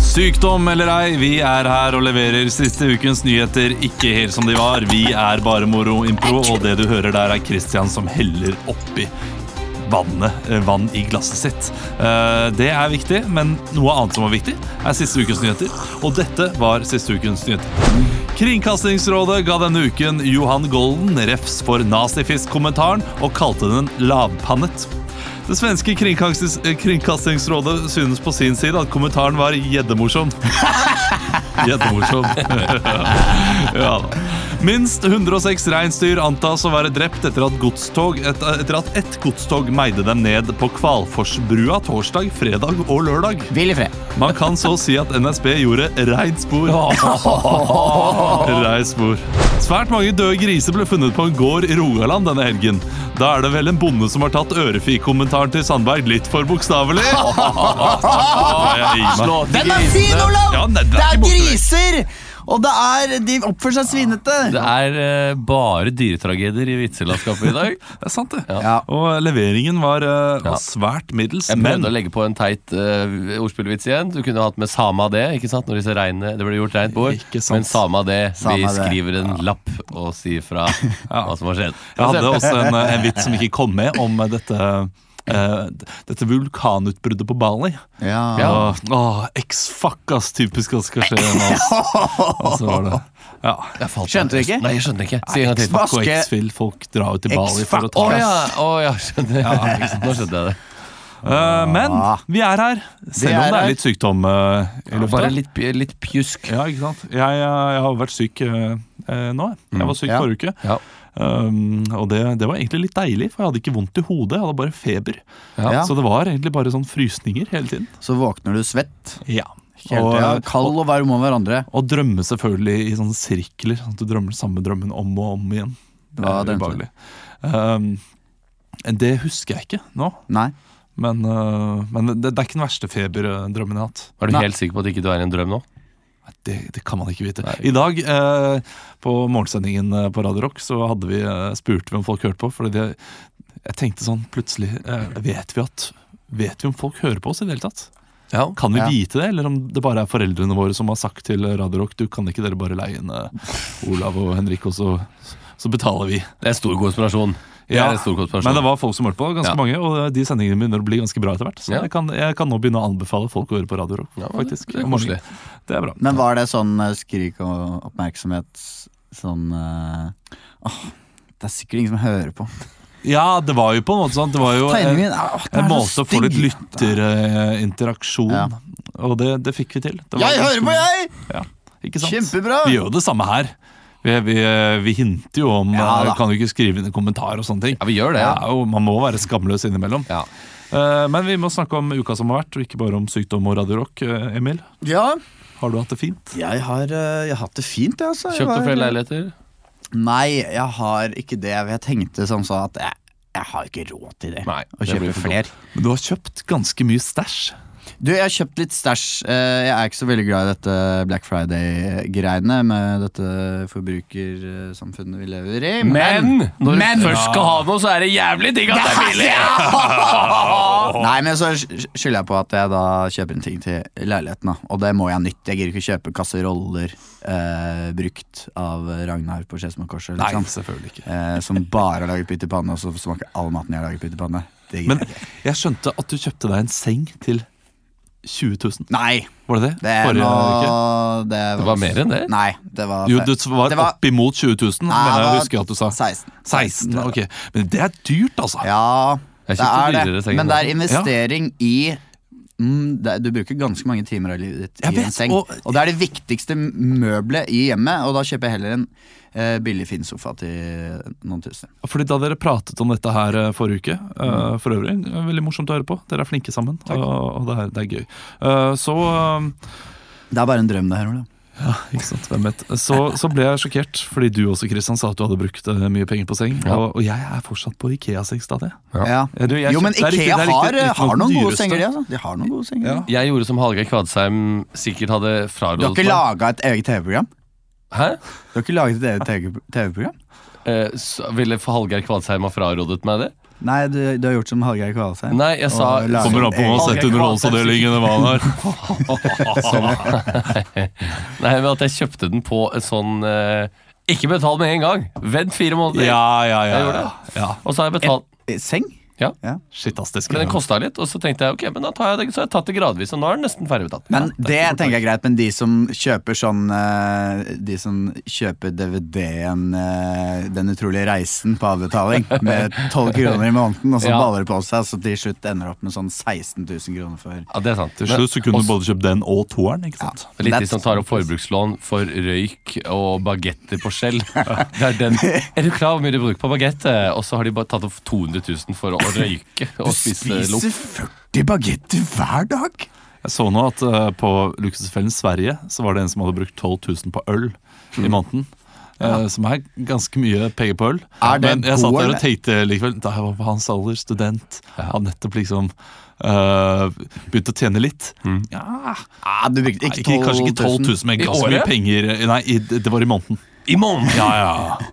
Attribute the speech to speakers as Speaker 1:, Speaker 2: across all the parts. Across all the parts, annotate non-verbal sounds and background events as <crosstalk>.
Speaker 1: Sykdom eller ei, vi er her og leverer siste ukens nyheter ikke helt som de var. Vi er bare moro impro, og det du hører der, er Christian som heller oppi vannet, eh, vann i glasset sitt. Eh, Det er viktig, men noe annet som var viktig, er siste ukens nyheter. Og dette var siste ukens nyheter. Kringkastingsrådet ga denne uken Johan Golden refs for nazifisk-kommentaren og kalte den lavpannet. Det svenske kringkastings eh, kringkastingsrådet synes på sin side at kommentaren var <laughs> gjeddemorsom. Gjeddemorsom. <laughs> ja da. Minst 106 reinsdyr antas å være drept etter at, godstog, et, etter at ett godstog meide dem ned på Kvalfossbrua torsdag, fredag og lørdag.
Speaker 2: Hvil i fred.
Speaker 1: Man kan så si at NSB gjorde reint spor. Reint spor. Svært mange døde griser ble funnet på en gård i Rogaland denne helgen. Da er det vel en bonde som har tatt ørefikommentaren til Sandberg litt for bokstavelig. Det er i meg.
Speaker 2: Den er fin, Olav!
Speaker 1: Ja, nei, den er
Speaker 2: det er
Speaker 1: ikke borte vekk.
Speaker 2: griser! Og det er, de oppfører seg svinete.
Speaker 3: Det er eh, bare dyretragedier i vitselandskapet i dag.
Speaker 1: Det er sant, det.
Speaker 2: Ja.
Speaker 1: Og leveringen var, eh, var svært middels,
Speaker 3: Jeg prøvde
Speaker 1: men
Speaker 3: å legge på en teit eh, ordspillvits igjen. Du kunne hatt med sama det, ikke sant? Når disse regnene, det ble gjort reint bord.
Speaker 1: Ikke sant.
Speaker 3: Men sama det,
Speaker 2: Sama
Speaker 3: vi
Speaker 2: det.
Speaker 3: skriver en lapp og sier fra hva som har skjedd.
Speaker 1: Jeg hadde også en, eh, en vits som ikke kom med, om eh, dette, eh, dette vulkanutbruddet på Bali.
Speaker 2: Ja.
Speaker 3: Ja.
Speaker 1: Åh, åh, X-fuck, ass! Typisk at det skal skje med oss. Og så var det Ja.
Speaker 3: Jeg falt
Speaker 2: Skjønte du
Speaker 3: av.
Speaker 2: ikke?
Speaker 3: Nei, jeg skjønte ikke. Si en gang til.
Speaker 2: Hva
Speaker 1: Fuck og
Speaker 2: skal-
Speaker 1: X-fill, folk drar jo til Bali for å
Speaker 2: X-fuck,
Speaker 1: ta
Speaker 3: Å
Speaker 1: oss.
Speaker 3: ja, å ja, skjønner jeg. Nå skjønte jeg det.
Speaker 1: Eh, men vi er her, selv
Speaker 2: er
Speaker 1: om det
Speaker 2: her.
Speaker 1: er litt sykdom eh, i lufta.
Speaker 3: Bare litt, litt pjusk.
Speaker 1: Ja, ikke sant? Jeg, eh, jeg har vært syk eh, eh, nå. jeg. Jeg var syk
Speaker 2: Ja.
Speaker 1: forrige uke.
Speaker 3: Ja.
Speaker 1: Um, og det, det var egentlig litt deilig, for jeg hadde ikke vondt i hodet. Jeg hadde bare feber.
Speaker 2: Ja.
Speaker 1: Så det var egentlig bare sånn frysninger hele tiden.
Speaker 2: Så våkner du svett.
Speaker 1: Ja.
Speaker 2: Og
Speaker 1: Og,
Speaker 2: ja, kald og varm om hverandre.
Speaker 1: og drømme selvfølgelig i sånne sirkler. Sånn at du drømmer den samme drømmen om og om igjen. Det
Speaker 2: Hva
Speaker 1: er
Speaker 2: drømte du?
Speaker 1: ubehagelig. Um, det husker jeg ikke nå,
Speaker 2: Nei.
Speaker 1: men, uh, men det, det er ikke den verste feberdrømmen jeg har hatt.
Speaker 3: Er du
Speaker 2: Nei.
Speaker 3: helt sikker på at ikke du er i en drøm nå?
Speaker 1: Det, det kan man ikke vite. I dag, eh, på morgensendingen eh, på Radio Rock, så hadde vi, eh, spurte vi om folk hørte på. Fordi det, jeg tenkte sånn plutselig eh, Vet vi at Vet vi om folk hører på oss i det hele tatt?
Speaker 3: Ja.
Speaker 1: Kan vi
Speaker 2: Ja.
Speaker 1: vite det, eller om det bare er foreldrene våre som har sagt til eh, Radio Rock Du kan ikke dere bare leie inn eh, Olav og Henrik, og så, så betaler vi.
Speaker 3: Det er en stor konspirasjon. Det
Speaker 1: Ja,
Speaker 3: er en stor konspirasjon.
Speaker 1: Men det var folk som hørte på, ganske
Speaker 3: Ja.
Speaker 1: mange, og eh, de sendingene begynner å bli ganske bra etter hvert. Så
Speaker 3: Ja.
Speaker 1: jeg, kan, jeg kan nå begynne å anbefale folk å høre på Radio Rock,
Speaker 3: Ja, men det-
Speaker 1: faktisk.
Speaker 3: det er
Speaker 1: om morgenen.
Speaker 3: koselig.
Speaker 1: Det er bra.
Speaker 2: Men var det sånn eh, skrik og oppmerksomhet Sånn eh, Åh, det er sikkert ingen som hører på.
Speaker 1: Ja, det var jo på en måte sånn. Det var jo
Speaker 2: Tegningen min
Speaker 1: en,
Speaker 2: er, åh, den
Speaker 1: en
Speaker 2: er så
Speaker 1: måte å få litt
Speaker 2: stygg.
Speaker 1: lytterinteraksjon.
Speaker 2: Ja.
Speaker 1: Og det, det fikk vi til. Det var
Speaker 2: Jeg
Speaker 1: ganske-
Speaker 2: hører på, jeg!
Speaker 1: Ja, ikke sant?
Speaker 2: Kjempebra!
Speaker 1: Vi gjør jo det samme her. Vi, vi, vi hinter jo om
Speaker 2: Ja, da.
Speaker 1: eh, Kan du ikke skrive inn en kommentar og sånne ting.
Speaker 3: Ja, vi gjør det, ja.
Speaker 1: Det er jo, man må være skamløs innimellom.
Speaker 3: Ja.
Speaker 1: Eh, men vi må snakke om uka som har vært, og ikke bare om sykdom og radiorock. Eh, Emil,
Speaker 2: Ja,
Speaker 1: har du hatt det fint?
Speaker 2: jeg har, eh, jeg har hatt det fint, jeg, altså. Jeg
Speaker 3: Kjøpte
Speaker 2: var-
Speaker 3: flere leiligheter?
Speaker 2: Nei, jeg har ikke det. Jeg tenkte som så at jeg, jeg har ikke råd til det.
Speaker 3: Nei,
Speaker 2: å
Speaker 3: det blir
Speaker 2: kjøpe
Speaker 3: for
Speaker 2: flere.
Speaker 1: Men du har kjøpt ganske mye stæsj.
Speaker 2: Du, jeg har kjøpt litt stæsj. Eh, Jeg er ikke så veldig glad i dette Black Friday-greiene med dette forbrukersamfunnet vi lever i.
Speaker 3: Men når
Speaker 2: Men-
Speaker 3: du først skal ha noe, så er det jævlig digg at det er billig!
Speaker 2: Nei, men så sk- skylder jeg på at jeg da kjøper en ting til leiligheten, da. Og det må jeg ha nytt. Jeg gidder ikke kjøpe kasseroller eh, brukt av Ragnar på Skedsmokorset,
Speaker 1: Nei,
Speaker 2: liksom.
Speaker 1: selvfølgelig ikke.
Speaker 2: Eh, som bare har laget pytt i panne, og så smaker all maten jeg har laget pytt i panne. Det gidder
Speaker 1: Men
Speaker 2: jeg ikke.
Speaker 1: jeg skjønte at du kjøpte deg en seng til 20 000.
Speaker 2: Nei!
Speaker 1: Var det det?
Speaker 2: Det er
Speaker 1: Forrige uke?
Speaker 2: noe det,
Speaker 3: Det var mer enn det?
Speaker 2: Nei, det var
Speaker 1: Jo, det var,
Speaker 2: Det var-
Speaker 1: oppimot 20 000,
Speaker 2: Nei,
Speaker 1: mener
Speaker 2: det
Speaker 1: jeg
Speaker 2: var
Speaker 1: husker at du sa.
Speaker 2: 16.
Speaker 1: 16, ok. Men det er dyrt, altså.
Speaker 2: Ja,
Speaker 3: Jeg
Speaker 2: det
Speaker 3: kjøpte
Speaker 2: er
Speaker 3: dyrere
Speaker 2: det.
Speaker 3: seng
Speaker 2: Men
Speaker 3: enn
Speaker 2: det er investering i mm, det, er- Du bruker ganske mange timer av livet ditt
Speaker 1: Jeg
Speaker 2: i
Speaker 1: vet,
Speaker 2: en seng.
Speaker 1: og-
Speaker 2: Og, det er det viktigste møbelet i hjemmet, og da kjøper jeg heller en eh, billig fin sofa til noen tusen.
Speaker 1: Fordi Da dere pratet om dette her eh, forrige uke, eh, for øvrig, eh, veldig morsomt å høre på. Dere er flinke sammen, og, og det, er, det er gøy. Eh, Så eh,
Speaker 2: Det er bare en drøm, det her, Olav.
Speaker 1: ikke sant, hvem vet. Så, så ble jeg sjokkert, fordi du også Kristian, sa at du hadde brukt eh, mye penger på seng.
Speaker 3: Ja.
Speaker 1: Og, og jeg er fortsatt på Ikea-sengstad. jeg.
Speaker 3: Ja.
Speaker 2: Ja.
Speaker 1: Ja, du, jeg
Speaker 2: Jo, men
Speaker 1: kjøpte- det er riktig-
Speaker 2: Ikea
Speaker 1: det er riktig-
Speaker 2: har,
Speaker 1: riktig nok
Speaker 2: har noen
Speaker 1: den
Speaker 2: gode
Speaker 1: dyreste.
Speaker 2: senger, de, altså. De har noen gode senger.
Speaker 1: Ja.
Speaker 2: de.
Speaker 3: Jeg gjorde som Hallgeir Kvadsheim sikkert hadde
Speaker 2: Du
Speaker 3: frarådet
Speaker 2: har ikke
Speaker 3: meg.
Speaker 2: laga et eget TV-program?
Speaker 3: Hæ?
Speaker 2: Du har ikke laget et eget TV-program?
Speaker 3: Eh, så ville Hallgeir Kvadsheim ha frarådet meg det?
Speaker 2: Nei, du, du har gjort som Hallgeir Kvalsheim.
Speaker 3: Nei, jeg sa
Speaker 2: Og lager-
Speaker 1: Kommer an på hva
Speaker 3: Hallgeir
Speaker 1: sett underholdsavdelingen det var der.
Speaker 3: Nei, men at jeg kjøpte den på en sånn eh, Ikke betal med en gang! Vent fire måneder.
Speaker 1: Ja, ja, ja.
Speaker 3: Jeg gjorde
Speaker 1: ja. ja.
Speaker 3: Og så har jeg betalt
Speaker 2: Eh, Seng?
Speaker 3: Ja.
Speaker 1: Shit, ass, det
Speaker 3: Men den
Speaker 1: skulle
Speaker 3: kosta litt, og så tenkte jeg ok, men da tar jeg det, så har jeg tatt det gradvis, og nå er den nesten ferdigbetalt.
Speaker 2: Men det tenker jeg er greit, men de som kjøper sånn eh, De som kjøper DVD-en eh, Den utrolige reisen på avbetaling
Speaker 1: <laughs>
Speaker 2: med 12 kroner i måneden, og så
Speaker 3: Ja.
Speaker 2: baller det på seg, så til slutt ender opp med sånn 16 000 kroner for
Speaker 3: Ja, det er sant.
Speaker 1: Til
Speaker 3: Men
Speaker 1: slutt så kunne du
Speaker 3: også-
Speaker 1: både kjøpt den og toeren, ikke sant?
Speaker 3: Litt de
Speaker 2: That's-
Speaker 3: som tar opp forbrukslån for røyk og bagetter på skjell. <laughs> Det er den. Er du klar over hvor mye du bruker på bagette? Og så har de bare tatt opp 200 000 for å røyke og spise loff.
Speaker 2: 40 bagetter hver dag!
Speaker 1: Jeg så nå at eh, på Luksusfellen Sverige så var det en som hadde brukt 12 000 på øl i måneden. eh, som er ganske mye penger på øl.
Speaker 2: Er det
Speaker 1: Men jeg satt
Speaker 2: god,
Speaker 1: der
Speaker 2: eller?
Speaker 1: og tenkte likevel Da jeg var på hans alder, student, hadde nettopp liksom eh, begynt å tjene litt. Ja,
Speaker 2: Ah, du brukte
Speaker 1: Mm.
Speaker 2: ikke 12
Speaker 1: ikke,
Speaker 2: 000.
Speaker 1: kanskje ikke 12 000, men
Speaker 3: I
Speaker 1: ganske mye
Speaker 3: året?
Speaker 1: penger. eh, Nei, i, det var i måneden.
Speaker 3: I måneden!
Speaker 1: Ja, ja.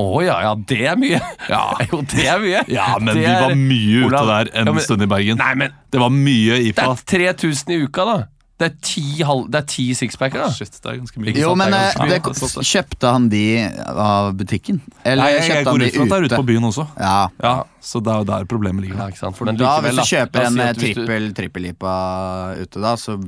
Speaker 3: Å ja, ja, det er mye!
Speaker 1: Ja.
Speaker 3: <laughs> Jo, det er mye.
Speaker 1: Ja, men
Speaker 3: Det
Speaker 1: vi var
Speaker 3: er-
Speaker 1: mye ute
Speaker 3: Olav,
Speaker 1: der en
Speaker 3: ja, men-
Speaker 1: stund i Bergen.
Speaker 3: Nei, men
Speaker 1: Det var mye
Speaker 3: det
Speaker 1: IPA.
Speaker 3: er 3000 i uka, da. Det er ti, halv, det er ti sixpacker, da.
Speaker 1: Shit, det er ganske mye.
Speaker 2: Jo,
Speaker 3: sant,
Speaker 2: men
Speaker 3: det er
Speaker 2: eh,
Speaker 3: ganske
Speaker 2: det,
Speaker 1: mye.
Speaker 2: kjøpte han de av butikken? Eller
Speaker 1: Nei, jeg, jeg
Speaker 2: kjøpte
Speaker 1: går ut
Speaker 2: han
Speaker 1: fra at det er
Speaker 2: de
Speaker 1: ute
Speaker 2: ute?
Speaker 1: på byen også.
Speaker 2: Ja.
Speaker 1: Ja, Så det er jo der problemet ligger.
Speaker 3: Ja, ikke sant?
Speaker 2: For
Speaker 3: Men
Speaker 2: da,
Speaker 3: likevel,
Speaker 2: hvis du
Speaker 3: da.
Speaker 2: kjøper
Speaker 3: La oss
Speaker 2: en
Speaker 3: si
Speaker 2: eh,
Speaker 3: at hvis du-
Speaker 2: trippel trippel-IPA ute, da, så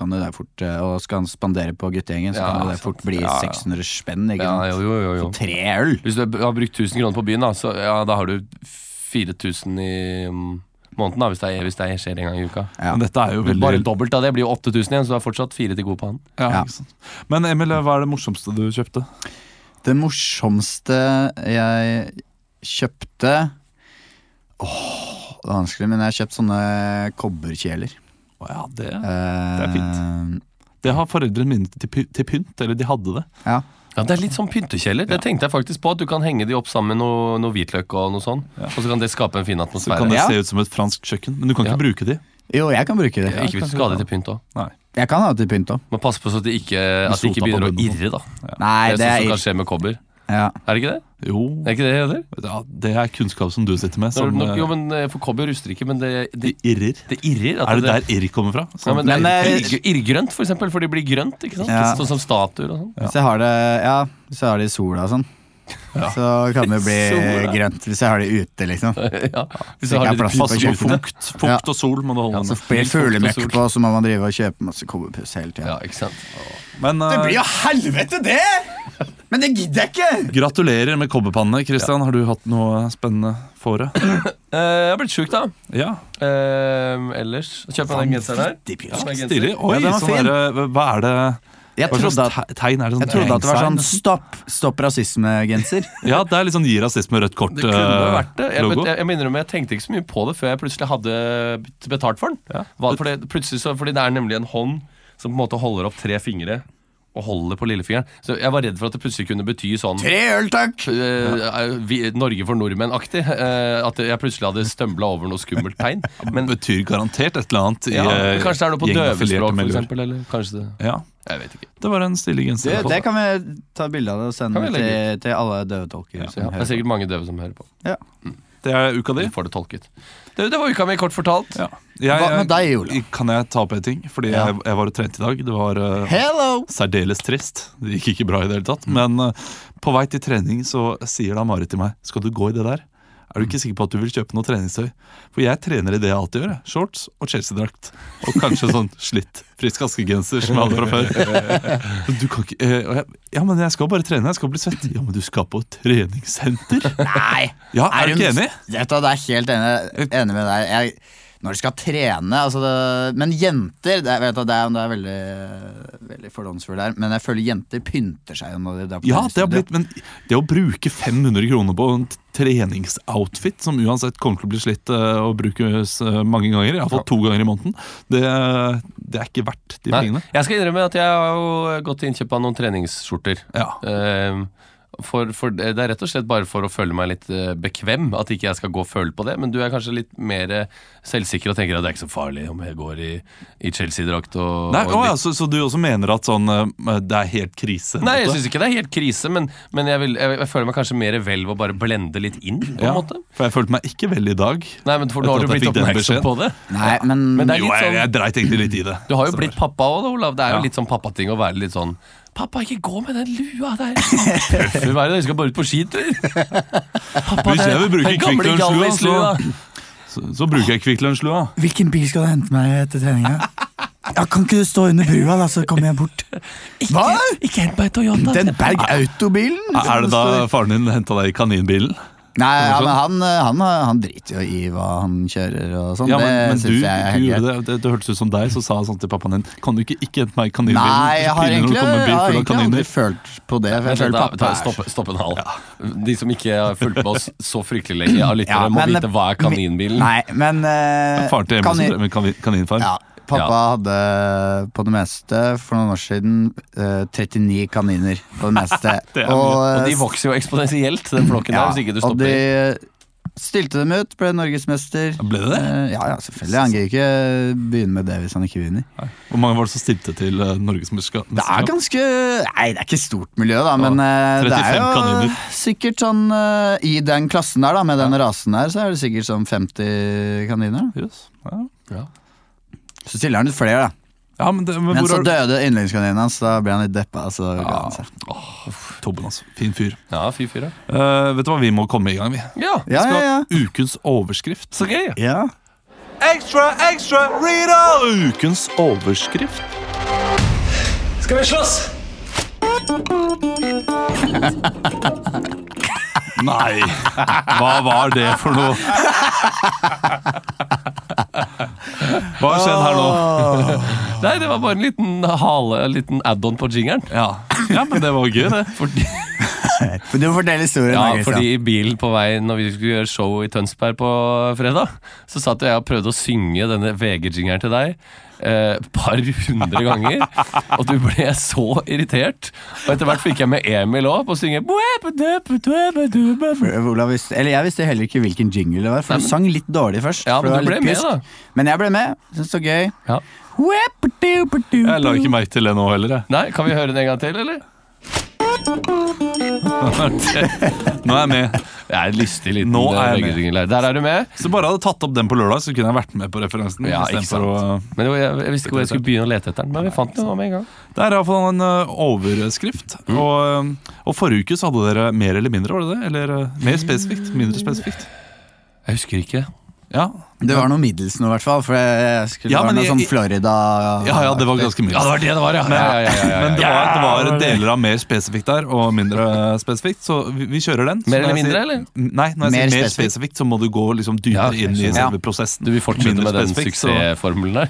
Speaker 2: kan det der fort eh, Og skal han spandere på guttegjengen, så
Speaker 3: Ja,
Speaker 2: kan det der
Speaker 3: sant.
Speaker 2: fort bli
Speaker 3: ja.
Speaker 2: 600 spenn. Ikke
Speaker 3: Ja,
Speaker 2: sant?
Speaker 3: jo, jo, jo, jo.
Speaker 2: Tre øl!
Speaker 3: Hvis du har brukt 1000 kroner på byen, da, så ja, da har du 4000 i mm, måneden, da, hvis det, er, hvis det skjer en gang i uka.
Speaker 2: Ja.
Speaker 1: Men dette er jo veldig
Speaker 3: Bare dobbelt av det blir jo 8000 igjen, så du har fortsatt fire til gode på han.
Speaker 1: ja,
Speaker 2: Ja.
Speaker 1: ikke sant. Men Emil, hva er det morsomste du kjøpte?
Speaker 2: Det morsomste jeg kjøpte Åh, det er vanskelig, men jeg har kjøpt sånne kobberkjeler.
Speaker 1: Å ja, det,
Speaker 2: Eh. Det
Speaker 1: er det har foreldrene mine til, py- til pynt. Eller de hadde det.
Speaker 2: Eh, Ja.
Speaker 3: Ja, Det er litt sånn pyntekjeller. Det tenkte jeg faktisk på. At du kan henge de opp sammen med noe, noe hvitløk og noe sånn. Og så kan det skape en fin
Speaker 1: Så kan
Speaker 3: atmosfære.
Speaker 1: det
Speaker 2: Ja.
Speaker 1: se ut som et fransk kjøkken, men du kan
Speaker 3: Ja.
Speaker 1: ikke bruke de.
Speaker 2: Jo, jeg kan bruke det.
Speaker 3: Ikke hvis du skal ha det til pynt òg.
Speaker 2: Jeg kan ha det til pynt òg.
Speaker 3: Men pass på så at det ikke, at det
Speaker 1: sota på
Speaker 3: ikke begynner å
Speaker 1: bunnen.
Speaker 3: irre, da.
Speaker 2: Nei,
Speaker 3: det
Speaker 2: det
Speaker 3: er sånn
Speaker 2: er
Speaker 3: som kan skje med kobber.
Speaker 2: ja.
Speaker 3: Er det ikke det?
Speaker 1: Jo,
Speaker 3: Er det ikke det det heter?
Speaker 1: ja, det er kunnskap som du sitter med,
Speaker 3: Så er
Speaker 1: som
Speaker 3: det nok-
Speaker 1: eh,
Speaker 3: Jo, men eh, For kobber ruster ikke, men det, det,
Speaker 1: de irrer.
Speaker 3: det irrer. at
Speaker 1: Er det der irr kommer fra?
Speaker 3: Ja, men det
Speaker 2: Men,
Speaker 3: er
Speaker 2: eh,
Speaker 3: irrg- irrgrønt, for eksempel, for de blir grønt. ikke sant?
Speaker 2: Ja.
Speaker 3: Sånn som statuer og sånn.
Speaker 2: Hvis jeg har det, ja, hvis jeg har det i sola og sånn, så kan det
Speaker 3: <laughs>
Speaker 2: bli
Speaker 3: Sola.
Speaker 2: grønt. Hvis jeg har det ute, liksom.
Speaker 3: Ja. Hvis
Speaker 2: Så
Speaker 3: du
Speaker 2: ikke
Speaker 3: har
Speaker 2: er
Speaker 3: litt
Speaker 2: plass
Speaker 1: Pass
Speaker 3: fast
Speaker 1: på
Speaker 2: kjøkkenet.
Speaker 1: fukt. Fukt og sol må du holde
Speaker 2: Så
Speaker 1: med.
Speaker 2: blir det fuglemøkk
Speaker 3: Fukt og sol.
Speaker 2: på, så må man drive og kjøpe masse kobberpuss hele tida.
Speaker 3: Ja, ikke sant?
Speaker 1: Men eh,
Speaker 2: jo helvete, det! Men det gidder jeg ikke!
Speaker 1: gratulerer med kobberpannene, Christian. Har du hatt noe spennende for deg?
Speaker 3: Eh, jeg har blitt sjuk, da.
Speaker 1: Ja,
Speaker 3: Eh, ellers Kjøp meg den genseren her. Kjøp meg den
Speaker 1: stilig.
Speaker 3: genseren.
Speaker 1: Oi,
Speaker 2: Ja, den var
Speaker 1: sånn
Speaker 2: fin.
Speaker 1: derre Hva er det
Speaker 2: Jeg
Speaker 1: Hva slags
Speaker 2: trodde at,
Speaker 1: te- tegn er det? Sånn
Speaker 2: jeg trodde at det var sånn
Speaker 1: tegn?
Speaker 2: stopp, stopp
Speaker 3: <laughs>
Speaker 2: rasisme-genser.
Speaker 1: Ja, det er litt sånn gi rasisme rødt eh,
Speaker 3: Det kunne jo vært det. Jeg,
Speaker 1: kort-logo.
Speaker 3: jeg, jeg minner om, jeg tenkte ikke så mye på det før jeg plutselig hadde bet- betalt for den. Hva- for det, plutselig så, fordi det er nemlig en hånd som på en måte holder opp tre fingre og holder på lillefingeren. Så jeg var redd for at det plutselig kunne bety sånn
Speaker 2: Tre øl, takk!
Speaker 3: eh, vi, Norge for nordmenn-aktig. eh, at jeg plutselig hadde stømbla over noe skummelt tegn. Men
Speaker 1: betyr garantert et eller annet. i,
Speaker 3: ja,
Speaker 1: eh,
Speaker 3: kanskje det er noe på
Speaker 1: gjengaffilierte
Speaker 3: døvespråk, for
Speaker 1: miljøer.
Speaker 3: eksempel. Eller kanskje det
Speaker 1: Ja,
Speaker 3: Jeg vet ikke.
Speaker 1: det var en stilig
Speaker 2: Du,
Speaker 1: genser.
Speaker 2: det kan vi ta bilde av det og sende
Speaker 3: Kan vi legge
Speaker 2: til, til alle døvetolker.
Speaker 3: Ja,
Speaker 2: som
Speaker 3: det er
Speaker 2: hører på.
Speaker 3: sikkert mange døve som hører på.
Speaker 2: Ja.
Speaker 1: Det er uka di.
Speaker 3: De får det tolket. Det, det var uka mi, kort fortalt.
Speaker 1: Ja. Jeg-
Speaker 2: Hva med deg, Ola?
Speaker 1: Kan jeg ta opp en ting? Fordi
Speaker 2: Ja.
Speaker 1: jeg, jeg var og trente i dag. Det var eh,
Speaker 2: Hello!
Speaker 1: særdeles trist. Det gikk ikke bra i det hele tatt. Men eh, på vei til trening så sier da Marit til meg Skal du gå i det der. Er du ikke sikker på at du vil kjøpe noe treningstøy? For jeg trener i det jeg alltid gjør. jeg. Shorts og Chelsea-drakt. Og kanskje <laughs> sånn slitt frisk askegenser som jeg hadde fra før. Men <laughs> Du kan ikke, eh, og jeg, ja, men jeg skal bare trene. Jeg skal bli svett. Ja, men du skal på treningssenter? <laughs>
Speaker 2: Nei!
Speaker 1: Ja, er du ikke enig?
Speaker 2: Vet du, hva, det er helt enig, enig med deg. Jeg, når du skal trene altså det, Men jenter det, er- vet du, det, er, det er veldig, veldig fordomsfull her, men jeg føler jenter pynter seg. jo Når de drar på
Speaker 1: Ja, det har
Speaker 2: treningsstudio.
Speaker 1: blitt, men det å bruke 500 kroner på en t- treningsoutfit, som uansett kommer til å bli slitt eh, og brukes eh, mange ganger, iallfall to ganger i måneden, det, det er ikke verdt de
Speaker 3: Nei,
Speaker 1: pengene.
Speaker 3: jeg skal innrømme at jeg har jo gått til innkjøp av noen treningsskjorter.
Speaker 1: Ja.
Speaker 3: Ehm, For, for Det er rett og slett bare for å føle meg litt eh, bekvem, at ikke jeg skal gå og føle på det. Men du er kanskje litt mer eh, selvsikker og tenker at det er ikke så farlig om jeg går i, i Chelsea-drakt og,
Speaker 1: Nei,
Speaker 3: og
Speaker 1: å, ja, så, så du også mener at sånn eh, det er helt krise? på en
Speaker 3: Nei, jeg
Speaker 1: måte?
Speaker 3: syns ikke det er helt krise, men, men jeg, vil, jeg, jeg føler meg kanskje mer vel ved å bare blende litt inn, på en
Speaker 1: Ja,
Speaker 3: måte.
Speaker 1: For jeg følte meg ikke vel i dag.
Speaker 3: Nei, men for
Speaker 1: Etter
Speaker 3: nå har du
Speaker 1: at jeg
Speaker 3: blitt
Speaker 1: fikk den
Speaker 3: oppmerksom
Speaker 1: beskjeden.
Speaker 3: på det.
Speaker 2: Nei, men,
Speaker 3: Men det er
Speaker 1: Jo,
Speaker 3: litt
Speaker 1: jeg,
Speaker 3: sånn-
Speaker 1: jeg dreit egentlig litt i det.
Speaker 3: Du har jo
Speaker 1: Så
Speaker 3: blitt pappa òg, Olav. Det er jo
Speaker 1: Ja.
Speaker 3: litt sånn pappating å være litt sånn Pappa, ikke gå med den lua der! Tøffer i været, dere skal bare ut på skitur! Pappa,
Speaker 1: Hvis jeg vil bruke
Speaker 3: den gamle
Speaker 1: kvikklønnslua,
Speaker 3: Hjallis-lua.
Speaker 1: Så, så bruker jeg kvikklunsjlua.
Speaker 2: Hvilken bil skal du hente meg etter <laughs> treninga? Ja, kan ikke du stå under brua, da, så kommer jeg bort? Hva?
Speaker 3: Ikke hent meg Toyota!
Speaker 2: Den Berg Autobilen?
Speaker 1: Er det da faren din henta deg i kaninbilen?
Speaker 2: Nei, ja, men han, han, han driter jo i hva han kjører og sånn.
Speaker 1: Ja, men,
Speaker 2: det
Speaker 1: men
Speaker 2: synes
Speaker 1: du,
Speaker 2: jeg er
Speaker 1: du
Speaker 2: helt greit.
Speaker 1: gjorde det, det, det hørtes ut som deg, så sa han sånn til pappaen din Kan du ikke ikke hente meg i kaninbilen? Det er så
Speaker 2: Nei, jeg har
Speaker 1: pinlig når
Speaker 2: egentlig,
Speaker 1: det kommer en bil full av
Speaker 2: jeg har egentlig aldri
Speaker 1: kaniner.
Speaker 2: følt på det. For jeg
Speaker 3: Vent litt,
Speaker 2: føler
Speaker 3: da,
Speaker 2: pappa
Speaker 3: ta,
Speaker 2: er
Speaker 3: stopp, stopp en hal. De som ikke har fulgt med oss så fryktelig lenge av lyttere,
Speaker 2: Ja,
Speaker 3: må
Speaker 2: men-
Speaker 3: vite hva
Speaker 1: eh,
Speaker 3: er kaninbilen.
Speaker 2: Nei, men eh,
Speaker 1: Faren til Emil som
Speaker 2: kanin-
Speaker 1: drev med kanin- kaninfarm.
Speaker 2: ja, Pappa hadde eh, på det meste for noen år siden eh, 39 kaniner på det meste.
Speaker 1: Det er mye.
Speaker 3: Og de
Speaker 2: eh,
Speaker 3: vokser jo eksponentielt, den flokken
Speaker 2: ja,
Speaker 3: der, hvis ikke du
Speaker 2: og de
Speaker 3: stopper.
Speaker 2: stilte dem ut, ble norgesmester.
Speaker 1: Ble det det?
Speaker 2: Eh, ja, ja, selvfølgelig. Han gidder ikke begynne med det hvis han ikke vinner.
Speaker 1: Hvor mange var det som stilte til eh, Norgesmesterskapet?
Speaker 2: Det er ganske Nei, det er ikke stort miljø, da, men eh, det
Speaker 1: 35
Speaker 2: er jo
Speaker 1: kaniner.
Speaker 2: sikkert sånn eh, I den klassen der, da, med den rasen der, så er det sikkert sånn 50 kaniner. da.
Speaker 1: Yes. Ja.
Speaker 3: Ja.
Speaker 2: Så stiller han ut flere, da.
Speaker 1: ja, men, det, men,
Speaker 2: Men
Speaker 1: hvor
Speaker 2: så
Speaker 1: er
Speaker 2: døde yndlingskaninen hans, da ble han litt deppa. Så ga han seg.
Speaker 1: Tobben, altså. Fin fyr.
Speaker 3: ja, fy fyra.
Speaker 1: Eh, vet du hva, vi må komme i gang, vi.
Speaker 3: Ja.
Speaker 2: Ja,
Speaker 1: Skal
Speaker 2: ja, ja.
Speaker 1: ha ukens overskrift.
Speaker 3: Så gøy!
Speaker 2: ja.
Speaker 1: Ekstra, ekstra, Rita! Ukens overskrift.
Speaker 4: Skal vi slåss?
Speaker 1: <laughs> Nei, hva var det for noe? Hva har skjedd her nå?
Speaker 2: <laughs>
Speaker 3: Nei, det var bare en liten hale, en liten add-on på jingeren.
Speaker 1: Ja. ja, men det var gøy, det.
Speaker 3: Fordi,
Speaker 2: For du må fortelle historien.
Speaker 3: ja,
Speaker 2: da, Christian.
Speaker 3: fordi i bilen på vei når vi skulle gjøre show i Tønsberg på fredag, så satt jeg og prøvde å synge denne VG-jingeren til deg. eh, Et par hundre ganger. Og du ble så irritert. Og etter hvert fikk jeg med Emil òg på å synge
Speaker 2: For Olav visste, eller jeg visste heller ikke hvilken jingle det var, for
Speaker 3: Nei, men-
Speaker 2: du sang litt dårlig først.
Speaker 3: Ja,
Speaker 2: for
Speaker 3: men
Speaker 2: det var
Speaker 3: du
Speaker 2: litt
Speaker 3: ble med, da.
Speaker 2: Men jeg ble med. Syns det var gøy.
Speaker 3: Ja.
Speaker 1: Jeg la ikke merke til det nå heller. Jeg. <laughs>
Speaker 3: Nei, kan vi høre den en gang til, eller?
Speaker 1: Nå er jeg med.
Speaker 3: Jeg er en lystig liten
Speaker 1: Nå er jeg med.
Speaker 3: VG-jingel her. Der er du med.
Speaker 1: Hvis du bare hadde tatt opp den på lørdag, så kunne jeg vært med på referansen.
Speaker 3: Ja,
Speaker 1: i stedet
Speaker 3: ikke
Speaker 1: for å-
Speaker 3: Men jo, jeg, jeg visste ikke hvor jeg skulle begynne å lete etter den, men vi fant den jo nå med en gang.
Speaker 1: Det er iallfall en ø, overskrift.
Speaker 3: Mm.
Speaker 1: Og, ø, og forrige uke så hadde dere mer eller mindre, var det det? Eller ø, mer spesifikt? Mindre spesifikt?
Speaker 3: Jeg husker ikke.
Speaker 1: Ja,
Speaker 2: Det var noe middels nå, i hvert fall. For jeg skulle
Speaker 1: Ja,
Speaker 2: være
Speaker 1: men
Speaker 2: noe
Speaker 1: jeg-
Speaker 2: sånn Florida
Speaker 1: ja, ja det var ganske mye.
Speaker 3: var det det var, Ah, ja. Men, ja, ja, ja, ja, ja.
Speaker 1: Men det var, det var deler av mer spesifikt der og mindre eh, spesifikt, så vi, vi kjører den. Så
Speaker 3: Mer
Speaker 1: når
Speaker 3: eller
Speaker 1: jeg
Speaker 3: mindre,
Speaker 1: sier-
Speaker 3: eller?
Speaker 1: Nei, når jeg
Speaker 2: Mer
Speaker 1: sier mer
Speaker 2: spesifikt.
Speaker 1: spesifikt, så må du gå liksom dypere
Speaker 3: Ja,
Speaker 1: inn i
Speaker 3: jeg
Speaker 1: selve
Speaker 2: skjønner.
Speaker 1: prosessen.
Speaker 3: Du vil fortsette
Speaker 1: Mindre
Speaker 3: med den
Speaker 1: spesifikt, så-
Speaker 3: suksessformelen der?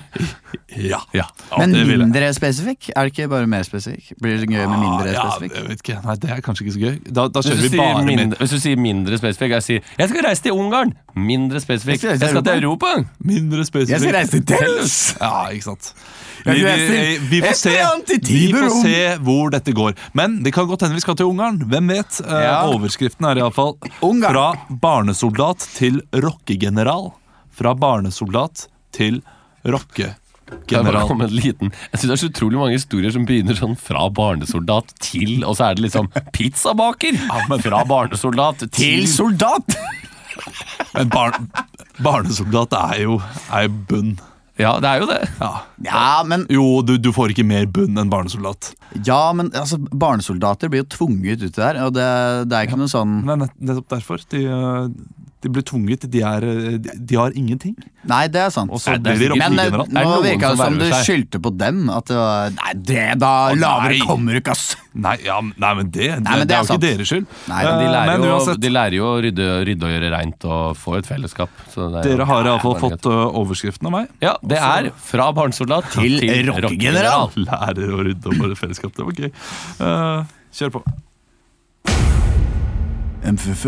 Speaker 1: Ja.
Speaker 3: Ja.
Speaker 2: Men
Speaker 1: det vil jeg. Ah,
Speaker 2: mindre spesifikk? Er det ikke bare mer spesifikk? Blir det gøy med mindre
Speaker 1: ja,
Speaker 2: spesifikk?
Speaker 1: jeg vet ikke. Nei, det er kanskje ikke så gøy. Da, da kjører
Speaker 3: Hvis du,
Speaker 1: vi
Speaker 3: sier
Speaker 1: bare
Speaker 3: mindre,
Speaker 1: mindre.
Speaker 3: hvis du sier mindre spesifikk, jeg sier 'jeg skal reise til Ungarn'. Mindre spesifikk. Jeg skal til Europa!
Speaker 1: mindre spesifikt.
Speaker 2: Jeg skal reise til Tels!
Speaker 1: Ja, ikke sant. Vi,
Speaker 2: Jeg
Speaker 1: vi,
Speaker 2: skal reise til
Speaker 1: vi, får se,
Speaker 2: Estland, til
Speaker 1: vi får
Speaker 2: Tiberom.
Speaker 1: se hvor dette går. Men det kan godt hende vi skal til Ungarn. Hvem vet? Eh,
Speaker 3: Ja.
Speaker 1: Overskriften er iallfall
Speaker 2: Ungarn.
Speaker 1: Fra barnesoldat til rockegeneral. Fra barnesoldat til
Speaker 3: Jeg, bare
Speaker 1: rockegeneral.
Speaker 3: kom med en liten. jeg synes Det er så utrolig mange historier som begynner sånn fra barnesoldat til, og så er det liksom pizzabaker! Fra barnesoldat til
Speaker 2: Til soldat! <laughs>
Speaker 1: Men bar barnesoldat er jo, er jo bunn.
Speaker 3: Ja, det er jo det.
Speaker 1: Ja.
Speaker 2: Ja, men,
Speaker 1: Jo, du, du får ikke mer bunn enn barnesoldat.
Speaker 2: ja, men altså, barnesoldater blir jo tvunget uti der, og det, det er ikke noe sånn
Speaker 1: Det er nett- nettopp derfor. De, eh, de blir tvunget. De, er, eh, de, de har ingenting.
Speaker 2: Nei, det er sant.
Speaker 1: Og så
Speaker 3: Nei, det er
Speaker 1: blir de
Speaker 3: sikkert-
Speaker 2: Men eh,
Speaker 1: rockegeneral.
Speaker 3: Er det
Speaker 2: nå
Speaker 3: noen
Speaker 2: virka
Speaker 3: som
Speaker 2: det som du
Speaker 3: verver seg?
Speaker 2: skyldte på dem. At det var Nei, det da lavere
Speaker 1: nei.
Speaker 2: kommer du ikke, ass!
Speaker 1: Nei, ja, men- nei, men det, det,
Speaker 2: men det
Speaker 1: det
Speaker 2: er
Speaker 1: er jo
Speaker 2: sant.
Speaker 1: ikke deres skyld.
Speaker 2: Nei, men
Speaker 3: De
Speaker 1: Eh,
Speaker 3: lærer,
Speaker 1: men
Speaker 3: jo,
Speaker 1: uansett,
Speaker 3: de lærer jo å rydde, rydde og gjøre reint og få et fellesskap. Så det er jo-
Speaker 1: dere har iallfall
Speaker 3: Ja,
Speaker 1: fått ø, overskriften av meg.
Speaker 3: Ja, det er fra barnesoldat til,
Speaker 2: Til rockegeneral.
Speaker 1: Lærer å rydde opp i fellesskap. Det var gøy. Eh, kjør på.
Speaker 2: MFF,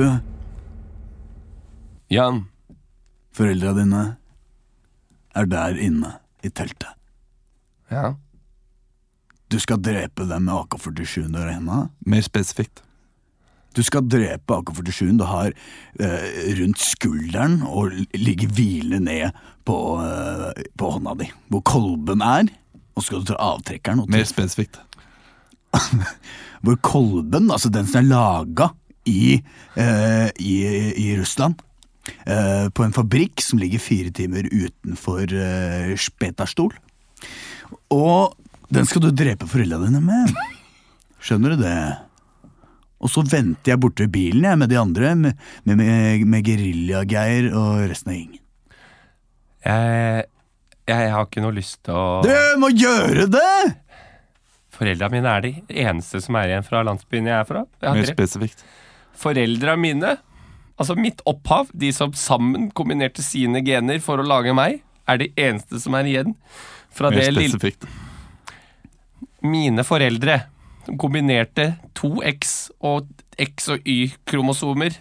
Speaker 3: Jan.
Speaker 2: foreldra dine er der inne i teltet.
Speaker 3: Ja.
Speaker 2: Du skal drepe dem med AK-47 under henda.
Speaker 1: Mer spesifikt.
Speaker 2: Du skal drepe AK-47 du har eh, rundt skulderen og l- ligge hvilende ned på, eh, på hånda di, hvor kolben er. Og så skal du ta avtrekkeren, og
Speaker 1: Mer
Speaker 2: til,
Speaker 1: spesifikt.
Speaker 2: hvor kolben, altså den som er laga i, eh, i, i Russland, eh, på en fabrikk som ligger fire timer utenfor eh, Spetastol. Og den skal du drepe foreldrene dine med. Skjønner du det? Og så venter jeg borte ved bilen jeg, med de andre, med, med, med, med Gerilja-Geir og resten av gjengen.
Speaker 3: Jeg, jeg har ikke noe lyst til å
Speaker 2: Du må gjøre det!
Speaker 3: Foreldra mine er de eneste som er igjen fra landsbyen jeg er fra. Jeg
Speaker 1: Mer
Speaker 3: har tre.
Speaker 1: spesifikt.
Speaker 3: Foreldra mine, altså mitt opphav, de som sammen kombinerte sine gener for å lage meg, er de eneste som er igjen fra
Speaker 1: Mer
Speaker 3: det lille
Speaker 1: spesifikt.
Speaker 3: Mine foreldre som kombinerte to X og X og Y-kromosomer.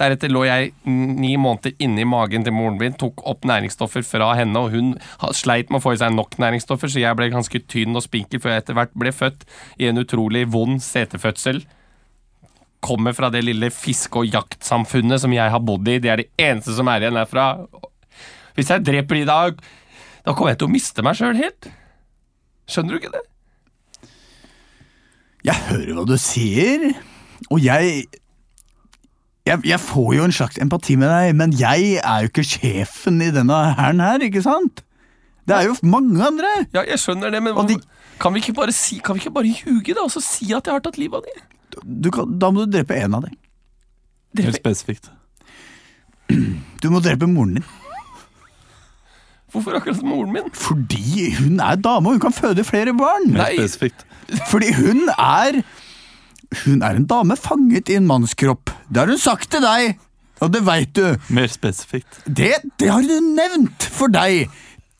Speaker 3: Deretter lå jeg ni måneder inni magen til moren min, tok opp næringsstoffer fra henne, og hun ha- sleit med å få i seg nok næringsstoffer, så jeg ble ganske tynn og spinkel før jeg etter hvert ble født i en utrolig vond setefødsel. Kommer fra det lille fiske- og jaktsamfunnet som jeg har bodd i. Det er det eneste som er igjen herfra. Hvis jeg dreper de da, da kommer jeg til å miste meg sjøl helt. Skjønner du ikke det?
Speaker 2: Jeg hører hva du sier, og jeg jeg, jeg får jo en slags empati med deg, men jeg er jo ikke sjefen i denne hæren her, ikke sant? Det er jo mange andre!
Speaker 3: Ja, jeg skjønner det, men
Speaker 2: Og de-
Speaker 3: hvorfor- kan, vi ikke bare si, kan vi ikke bare ljuge, da, og så si at jeg har tatt livet av dem?
Speaker 2: Du kan, da må du drepe en av dem.
Speaker 1: Mer spesifikt.
Speaker 2: Du må drepe moren din.
Speaker 3: Hvorfor akkurat moren min?
Speaker 2: Fordi hun er dame, og hun kan føde flere barn!
Speaker 1: Mer
Speaker 3: Nei.
Speaker 1: spesifikt.
Speaker 2: Fordi hun er Hun er en dame fanget i en mannskropp. Det har hun sagt til deg, og det veit du.
Speaker 1: Mer spesifikt.
Speaker 2: Det, det har du nevnt for deg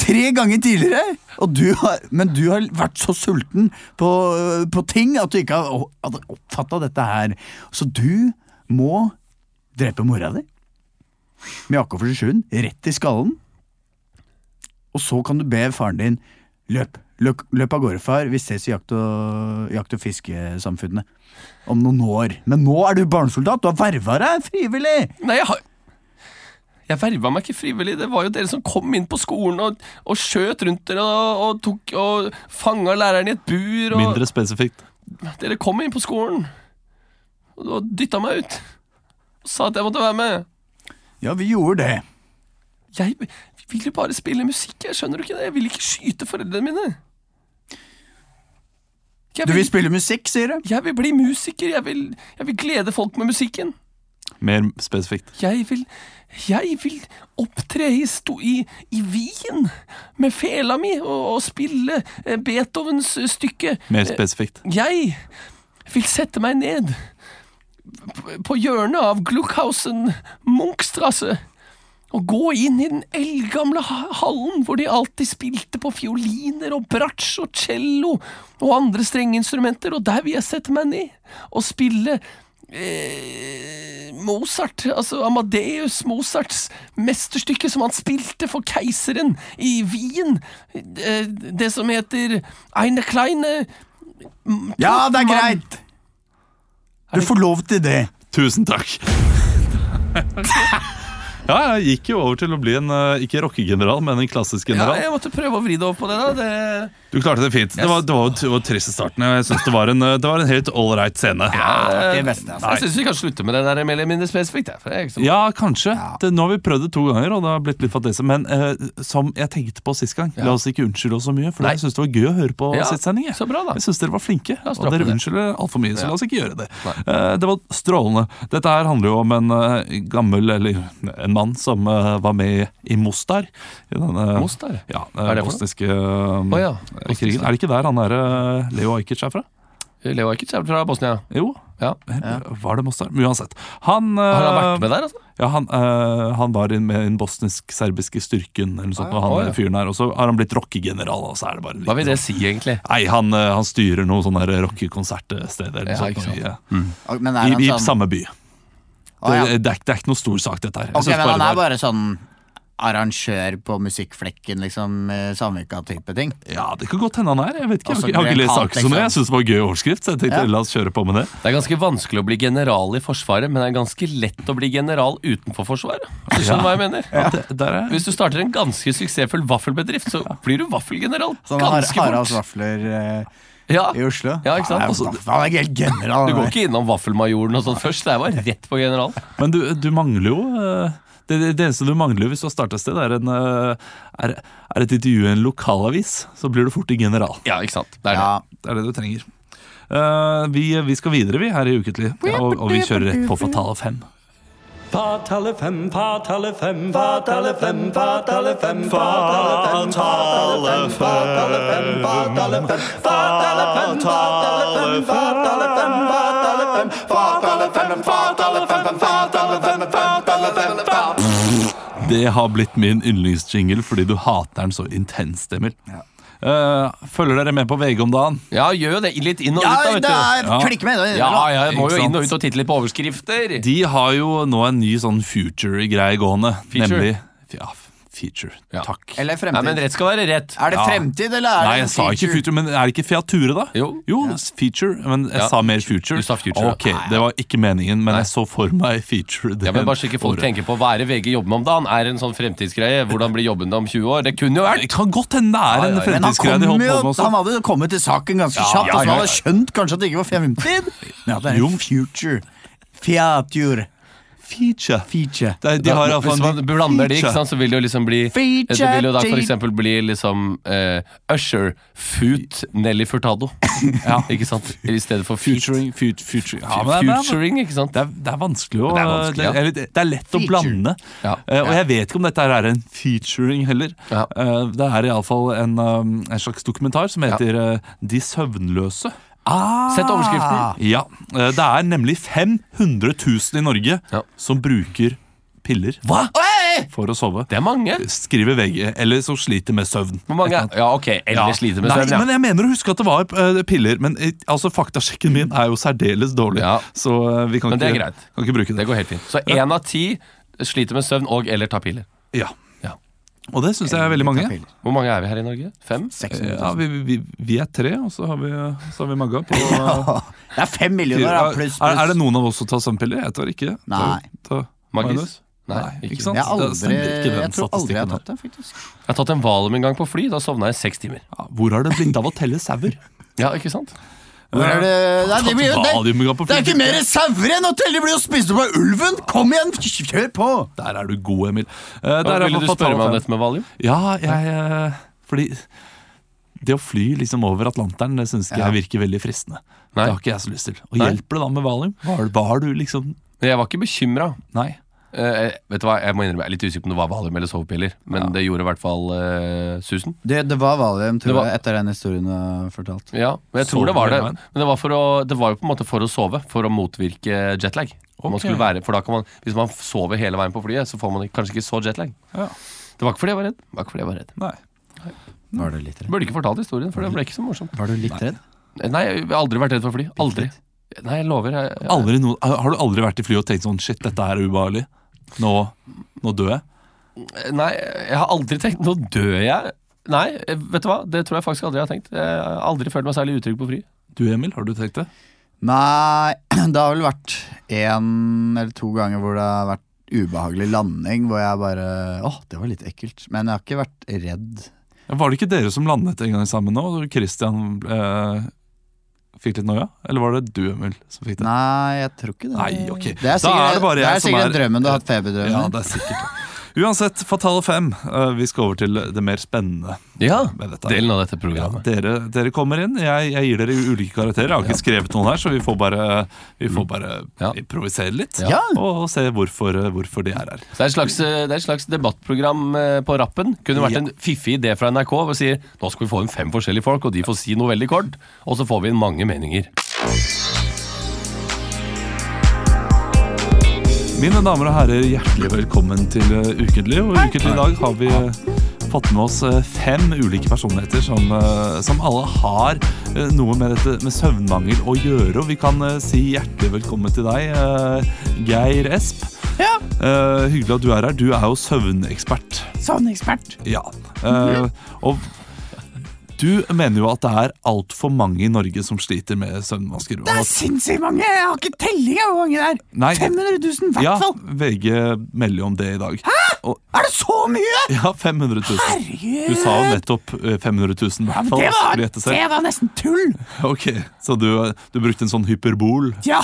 Speaker 2: tre ganger tidligere, og du har, men du har vært så sulten på, på ting at du ikke har oppfatta dette her. Så du må drepe mora di med AK-47 rett i skallen. Og så kan du be faren din løp, løp, løp av gårde, far. Vi ses i jakt- og, jakt- og fiskesamfunnene om noen år. Men nå er du barnesoldat. Du har verva deg frivillig.
Speaker 3: Nei, jeg har Jeg verva meg ikke frivillig. Det var jo dere som kom inn på skolen og, og skjøt rundt dere og, og, tok- og fanga læreren i et bur. Og
Speaker 1: Mindre spesifikt.
Speaker 3: Dere kom inn på skolen og, og dytta meg ut. Og sa at jeg måtte være med.
Speaker 2: Ja, vi gjorde det.
Speaker 3: Jeg vil jo bare spille musikk, jeg skjønner du ikke det? Jeg vil ikke skyte foreldrene mine. Jeg
Speaker 2: Du
Speaker 3: vil-
Speaker 2: vil spille musikk, sier du?
Speaker 3: Jeg vil bli musiker. Jeg vil, jeg vil glede folk med musikken.
Speaker 1: Mer spesifikt.
Speaker 3: Jeg vil Jeg vil opptre i, sto, i, i Wien med fela mi og, og spille eh, Beethovens eh, stykke.
Speaker 1: Mer spesifikt.
Speaker 3: Jeg vil sette meg ned p- på hjørnet av Gluckhausen Munchstrasse og gå inn i den eldgamle ha- hallen hvor de alltid spilte på fioliner og bratsj og cello og andre strengeinstrumenter, og der vil jeg sette meg ned og spille eh, Mozart, altså Amadeus Mozarts mesterstykke som han spilte for keiseren i Wien, eh, det som heter Eine Kleine
Speaker 2: Ja, det er
Speaker 3: mann.
Speaker 2: greit! Du får lov til det.
Speaker 1: Tusen
Speaker 3: <laughs>
Speaker 1: takk. Ja, jeg gikk jo over til å bli en eh, ikke rockegeneral, men en klassisk
Speaker 3: Ja,
Speaker 1: general.
Speaker 3: jeg måtte prøve å vri det over på det, da. Det,
Speaker 1: Du klarte det fint. Det var, det var, det var trist i starten. og Jeg synes det, var en, eh, det var en helt ålreit scene.
Speaker 2: Det beste, altså.
Speaker 3: eh, jeg syns vi kan slutte med det der mer eller mindre spesifikt. jeg, for det er ikke så-
Speaker 1: Ja, kanskje. Det, nå har vi prøvd det to ganger, og det har blitt litt fattigere. Men eh, som jeg tenkte på sist gang, la oss ikke unnskylde oss så mye. For
Speaker 3: Nei.
Speaker 1: jeg syns det var gøy å høre på
Speaker 3: Ja,
Speaker 1: sist sending. jeg.
Speaker 3: så bra da.
Speaker 1: Jeg syns dere var flinke,
Speaker 3: La oss
Speaker 1: og
Speaker 3: droppe
Speaker 1: dere
Speaker 3: det.
Speaker 1: unnskylder altfor mye. Så la oss ikke gjøre det.
Speaker 3: Nei.
Speaker 1: Eh, det var strålende. Dette her handler jo om en eh, gammel, eller en mann, som eh, var med i Mostar. I denne,
Speaker 3: Mostar?
Speaker 1: Ja,
Speaker 3: Er
Speaker 1: er det
Speaker 3: det for noe?
Speaker 1: bosniske eh,
Speaker 3: Å ja,
Speaker 1: eh, krigen. Er det ikke der han er eh, Leo Ajkic er fra?
Speaker 3: Leo Ajkic er fra Bosnia.
Speaker 1: Jo.
Speaker 3: Ja.
Speaker 1: eh, Var det Mostar? Men uansett. Han, eh,
Speaker 3: Han har vært med der, altså.
Speaker 1: ja, han, eh, han var inn med den bosnisk-serbiske styrken, eller noe sånt, og han
Speaker 3: Å, Ah, ja.
Speaker 1: fyren her, og så har han blitt rockegeneral. og så er det bare en
Speaker 3: Hva vil
Speaker 1: liten-
Speaker 3: det si, egentlig?
Speaker 1: Nei, han, eh, han styrer noen sånne her rockekonsertsteder eller noe
Speaker 3: Ja,
Speaker 1: sånt,
Speaker 3: ikke sant.
Speaker 1: i, eh,
Speaker 2: Men sånn-
Speaker 1: i, i samme by.
Speaker 2: Å, ja.
Speaker 3: eh,
Speaker 1: det, det, er, ikke- det er ikke noe stor sak, dette her. Jeg
Speaker 2: Ok,
Speaker 1: synes
Speaker 2: men
Speaker 1: bare
Speaker 2: han
Speaker 1: det
Speaker 2: er bare sånn arrangør på Musikkflekken, liksom. eh, Samvika-type ting.
Speaker 1: Ja, Det kan godt hende han er. Jeg vet ikke, jeg
Speaker 2: Altså,
Speaker 1: har ikke, jeg har ikke
Speaker 2: Graham
Speaker 1: lest
Speaker 2: Hunt,
Speaker 1: saken som det.
Speaker 2: liksom.
Speaker 1: Jeg synes det var gøy overskrift, så jeg tenkte
Speaker 2: Ja.
Speaker 1: la oss kjøre på med det.
Speaker 3: Det er ganske vanskelig å bli general i Forsvaret, men det er ganske lett å bli general utenfor Forsvaret. Hvis du skjønner hva jeg mener.
Speaker 1: At det der er
Speaker 3: Hvis du starter en ganske suksessfull vaffelbedrift, så blir du vaffelgeneral
Speaker 2: Sånn har,
Speaker 3: ganske
Speaker 2: Haralds
Speaker 3: fort.
Speaker 2: vafler eh,
Speaker 3: Ja.
Speaker 2: i Oslo.
Speaker 3: Ja, ikke sant?
Speaker 2: Han er-
Speaker 3: Altså,
Speaker 2: Han er helt general.
Speaker 3: Du
Speaker 2: han
Speaker 3: går
Speaker 2: der.
Speaker 3: ikke innom vaffelmajoren og sånn først. Det er bare rett på general.
Speaker 1: Men du, du mangler jo eh, det, det- det eneste du mangler hvis du har starta et sted, er, en, eh, er, er et intervju i en lokalavis. Så blir du fort i general.
Speaker 3: Ja, ikke sant. Det er
Speaker 2: Ja.
Speaker 1: Det er det du trenger. Eh, vi, vi skal videre, vi, her i Uketlig. Og, og vi kjører rett på Fatale 5.
Speaker 5: Fatale fem, fatale fem, fatale fem, fatale fem, fatale fem, fatale fem, fatale fem, fatale fem, fatale fem, fatale fem, fatale fem, fatale fem, fatale fem, fatale fem, fatale fem, fatale fem, fatale fem.
Speaker 1: Det har blitt min yndlingsjingle fordi du hater den så intenst, Emil. Eh, følger dere med på VG om dagen?
Speaker 3: det. Ja, gjør jo det. Litt inn og ut,
Speaker 2: Ja,
Speaker 3: da, vet
Speaker 2: det
Speaker 3: du.
Speaker 2: er,
Speaker 1: Ja.
Speaker 2: klikk med! Det,
Speaker 3: Ja, ja, jeg må
Speaker 1: Ikke
Speaker 3: jo inn og
Speaker 1: sant?
Speaker 3: ut og titte litt på overskrifter.
Speaker 1: De har jo nå en ny sånn future-greie gående.
Speaker 3: Feature?
Speaker 1: Nemlig Ja, feature.
Speaker 3: Ja.
Speaker 1: Takk.
Speaker 2: Eller fremtid.
Speaker 3: Nei, men rett skal være rett.
Speaker 2: Er det
Speaker 1: Ja.
Speaker 2: fremtid, eller er
Speaker 1: Nei,
Speaker 2: det
Speaker 1: jeg sa ikke future, men er det ikke Fiature, da?
Speaker 3: Jo.
Speaker 1: feature, men jeg
Speaker 3: Ja.
Speaker 1: sa mer future.
Speaker 3: Du sa future, ja.
Speaker 1: Ok, Det var ikke meningen, men jeg så for meg feature. det
Speaker 3: Ja, men bare så ikke folk
Speaker 1: året.
Speaker 3: tenker på hva er det VG jobber med om dagen? Er det en sånn fremtidsgreie? Hvordan blir jobben da om 20 år? Det kunne jo
Speaker 1: Det
Speaker 3: vært!
Speaker 1: kan godt hende det er
Speaker 3: Ja,
Speaker 1: en
Speaker 3: ja, ja.
Speaker 2: Men han,
Speaker 1: fremtidsgreie de
Speaker 2: kom
Speaker 1: holder
Speaker 2: jo,
Speaker 1: på med også.
Speaker 2: han hadde jo kommet til saken ganske kjapt,
Speaker 1: ja,
Speaker 2: og så
Speaker 1: ja,
Speaker 2: han hadde skjønt kanskje at det ikke var fremtid. Men at det er
Speaker 1: Jo.
Speaker 2: en future. Fiatur.
Speaker 1: Feature.
Speaker 2: Feature.
Speaker 1: Det, de har i hvert fall
Speaker 3: Hvis man
Speaker 1: en
Speaker 3: blander de, ikke
Speaker 1: feature.
Speaker 3: sant, så vil det jo liksom bli
Speaker 2: Feature,
Speaker 3: Det vil jo da for
Speaker 2: feature.
Speaker 3: eksempel bli liksom eh, Usher, Foot, Nelly Furtado. ja. Ikke sant? I stedet for feet.
Speaker 1: Featuring, fut, future. Ja, men det, er,
Speaker 3: Futuring, ikke sant?
Speaker 1: det, er, det er vanskelig å
Speaker 3: Det er vanskelig, ja.
Speaker 1: eller det, er lett å
Speaker 2: Feature.
Speaker 1: blande.
Speaker 3: Ja.
Speaker 1: Eh, og jeg vet ikke om dette her er en featuring heller.
Speaker 3: Ja.
Speaker 1: Eh, det er iallfall en, um, en slags dokumentar som heter eh, De søvnløse.
Speaker 3: Sett overskriften.
Speaker 1: Ja, eh, Det er nemlig 500 000 i Norge
Speaker 3: Ja.
Speaker 1: som bruker piller
Speaker 3: Hva?!
Speaker 1: for å sove.
Speaker 3: Det er mange.
Speaker 1: Skriver VG. Eller som sliter med søvn.
Speaker 3: Hvor mange? Ja, ok. Eller
Speaker 1: Ja.
Speaker 3: sliter med
Speaker 1: Nei,
Speaker 3: søvn.
Speaker 1: Men
Speaker 3: Ja.
Speaker 1: jeg mener å huske at det var eh, piller. Men eh, altså, faktasjekken min er jo særdeles dårlig,
Speaker 3: Ja.
Speaker 1: så eh, vi kan
Speaker 3: Men det er
Speaker 1: ikke,
Speaker 3: greit.
Speaker 1: kan ikke bruke det.
Speaker 3: Det går helt fint. Så én av ti sliter med søvn og eller tar piller.
Speaker 1: Ja.
Speaker 3: Ja.
Speaker 1: Og det syns jeg er veldig mange.
Speaker 3: Hvor mange er vi her i Norge? Fem?
Speaker 1: Ja, vi, vi, vi er tre, og så har vi, så har vi Magga
Speaker 2: <laughs>
Speaker 1: på
Speaker 2: Det er fem millioner,
Speaker 1: fire.
Speaker 2: da,
Speaker 1: Er,
Speaker 2: pluss, pluss.
Speaker 1: er det noen av oss som tar søvnpiller? Jeg tar ikke.
Speaker 2: Nei.
Speaker 1: Ta, ta,
Speaker 3: Magnus?
Speaker 1: Magnus?
Speaker 3: Nei, ikke.
Speaker 1: ikke sant?
Speaker 2: Jeg, har
Speaker 1: Det
Speaker 2: aldri,
Speaker 1: stemmer ikke den
Speaker 2: jeg tror aldri
Speaker 1: statistikken
Speaker 2: jeg har
Speaker 1: der.
Speaker 2: tatt det, faktisk.
Speaker 3: Jeg har tatt en valium en gang på fly. Da sovna jeg i seks timer.
Speaker 1: Ja, hvor har det blitt av å telle sauer?
Speaker 3: Ja, ikke sant?
Speaker 2: Hvor er det? Nei, det, blir, jo- det,
Speaker 1: Valiumgram på
Speaker 2: det er
Speaker 1: fly.
Speaker 2: ikke mer sauer enn å telle! De blir jo spist opp av ulven! Kom igjen, kjør på!
Speaker 1: Der er du god, Emil. Eh,
Speaker 3: Da
Speaker 1: der er
Speaker 3: ville du
Speaker 1: Fatale
Speaker 3: spørre meg om
Speaker 1: Fem.
Speaker 3: dette med valium?
Speaker 1: Ja, jeg eh, Fordi det å fly liksom over Atlanteren Det syns ikke jeg virker veldig fristende.
Speaker 3: Nei.
Speaker 1: Det har ikke jeg så lyst til. Og
Speaker 3: Nei.
Speaker 1: hjelper det da med valium? Var, var du liksom
Speaker 3: Men Jeg var ikke bekymra.
Speaker 1: Nei.
Speaker 3: vet du hva, jeg må innrømme, jeg er litt usikker på om det var valium eller sovepiller, men det gjorde i hvert fall eh, susen.
Speaker 2: Det, det var valium,
Speaker 3: Det
Speaker 2: tror
Speaker 3: var-
Speaker 2: jeg, etter den historien du har fortalt.
Speaker 3: Ja, men jeg
Speaker 1: Sov
Speaker 3: tror det var
Speaker 1: hele
Speaker 3: det.
Speaker 1: veien?
Speaker 3: Men det var, for å, det var jo på en måte for å sove, for å motvirke jetlag. Om Man
Speaker 1: Ok.
Speaker 3: skulle være, for da kan man, Hvis man sover hele veien på flyet, så får man ikke- kanskje ikke så jetlag.
Speaker 1: Ja.
Speaker 3: Det var ikke fordi jeg var redd. Det var ikke fordi jeg var redd.
Speaker 1: Nei.
Speaker 2: Var du litt redd?
Speaker 3: Burde ikke fortalt historien, for det ble ikke så morsomt. Eh,
Speaker 2: Var du litt redd?
Speaker 3: Nei, jeg har aldri vært redd for fly. Aldri. Nei, jeg lover. Jeg, jeg,
Speaker 1: Aldri noe- har du aldri vært i flyet og tenkt sånn Shit, dette her er ubehagelig. Nå, nå dør jeg.
Speaker 3: Nei, jeg har aldri tenkt Nå dør jeg. Nei, vet du hva? Det tror jeg faktisk aldri jeg har tenkt. Jeg har aldri følt meg særlig utrygg på fly.
Speaker 1: Du, Emil, har du tenkt det?
Speaker 2: Nei, <clears throat> det har vel vært én eller to ganger hvor det har vært ubehagelig landing, hvor jeg bare Åh, det var litt ekkelt. Men jeg har ikke vært redd.
Speaker 1: Var det ikke dere som landet en gang sammen nå? og Christian eh, fikk litt noia? Eller var det du, Emil, som fikk det?
Speaker 2: Nei, jeg tror ikke det.
Speaker 1: Nei, ok.
Speaker 2: Det er
Speaker 1: Da
Speaker 2: sikkert,
Speaker 1: er det bare jeg som
Speaker 2: sikkert
Speaker 1: er-
Speaker 2: drømmen du har hatt, feberdrømmen.
Speaker 1: Ja, det er sikkert det. Uansett, Fatale fem. Eh, vi skal over til det mer spennende
Speaker 3: Ja,
Speaker 1: med dette.
Speaker 3: Delen av dette
Speaker 1: Ja,
Speaker 3: programmet.
Speaker 1: dere, dere kommer inn. Jeg, jeg gir dere ulike karakterer. Jeg har ikke skrevet noen her, så vi får bare, vi får bare
Speaker 3: Ja.
Speaker 1: improvisere litt.
Speaker 2: Ja.
Speaker 1: Og, og se hvorfor, eh, hvorfor de er her.
Speaker 3: Så det, er et slags, eh, det er et slags debattprogram eh, på rappen. Kunne vært en fiffig idé fra NRK hvor vi sier nå skal vi få inn fem forskjellige folk, og de får si noe veldig kort. Og så får vi inn mange meninger.
Speaker 1: Mine damer og herrer, hjertelig velkommen til eh, Ukentlig. Og i Ukentlig i dag har vi eh, fått med oss eh, fem ulike personligheter som, eh, som alle har eh, noe med dette med søvnmangel å gjøre. Og vi kan eh, si hjertelig velkommen til deg, eh, Geir Esp.
Speaker 2: Ja.
Speaker 1: Eh, Eh, hyggelig at du er her. Du er jo søvnekspert.
Speaker 6: Savnekspert.
Speaker 1: Ja. Eh, og du mener jo at det er altfor mange i Norge som sliter med søvnvansker. og
Speaker 6: Det er
Speaker 1: at-
Speaker 6: sinnssykt mange! Jeg har ikke telling av hvor mange det er.
Speaker 1: Nei.
Speaker 6: 500 000 i hvert
Speaker 1: Ja,
Speaker 6: fall.
Speaker 1: VG melder jo om det i dag. Og,
Speaker 6: Er det så mye?!
Speaker 1: ja, 500 000.
Speaker 6: Herregud!
Speaker 1: Du sa jo nettopp eh, 500 000, i hvert fall.
Speaker 6: Det var,
Speaker 1: skulle jeg gjette selv.
Speaker 6: det var nesten tull!
Speaker 1: Ok, Så du, du brukte en sånn hyperbol?
Speaker 6: Ja!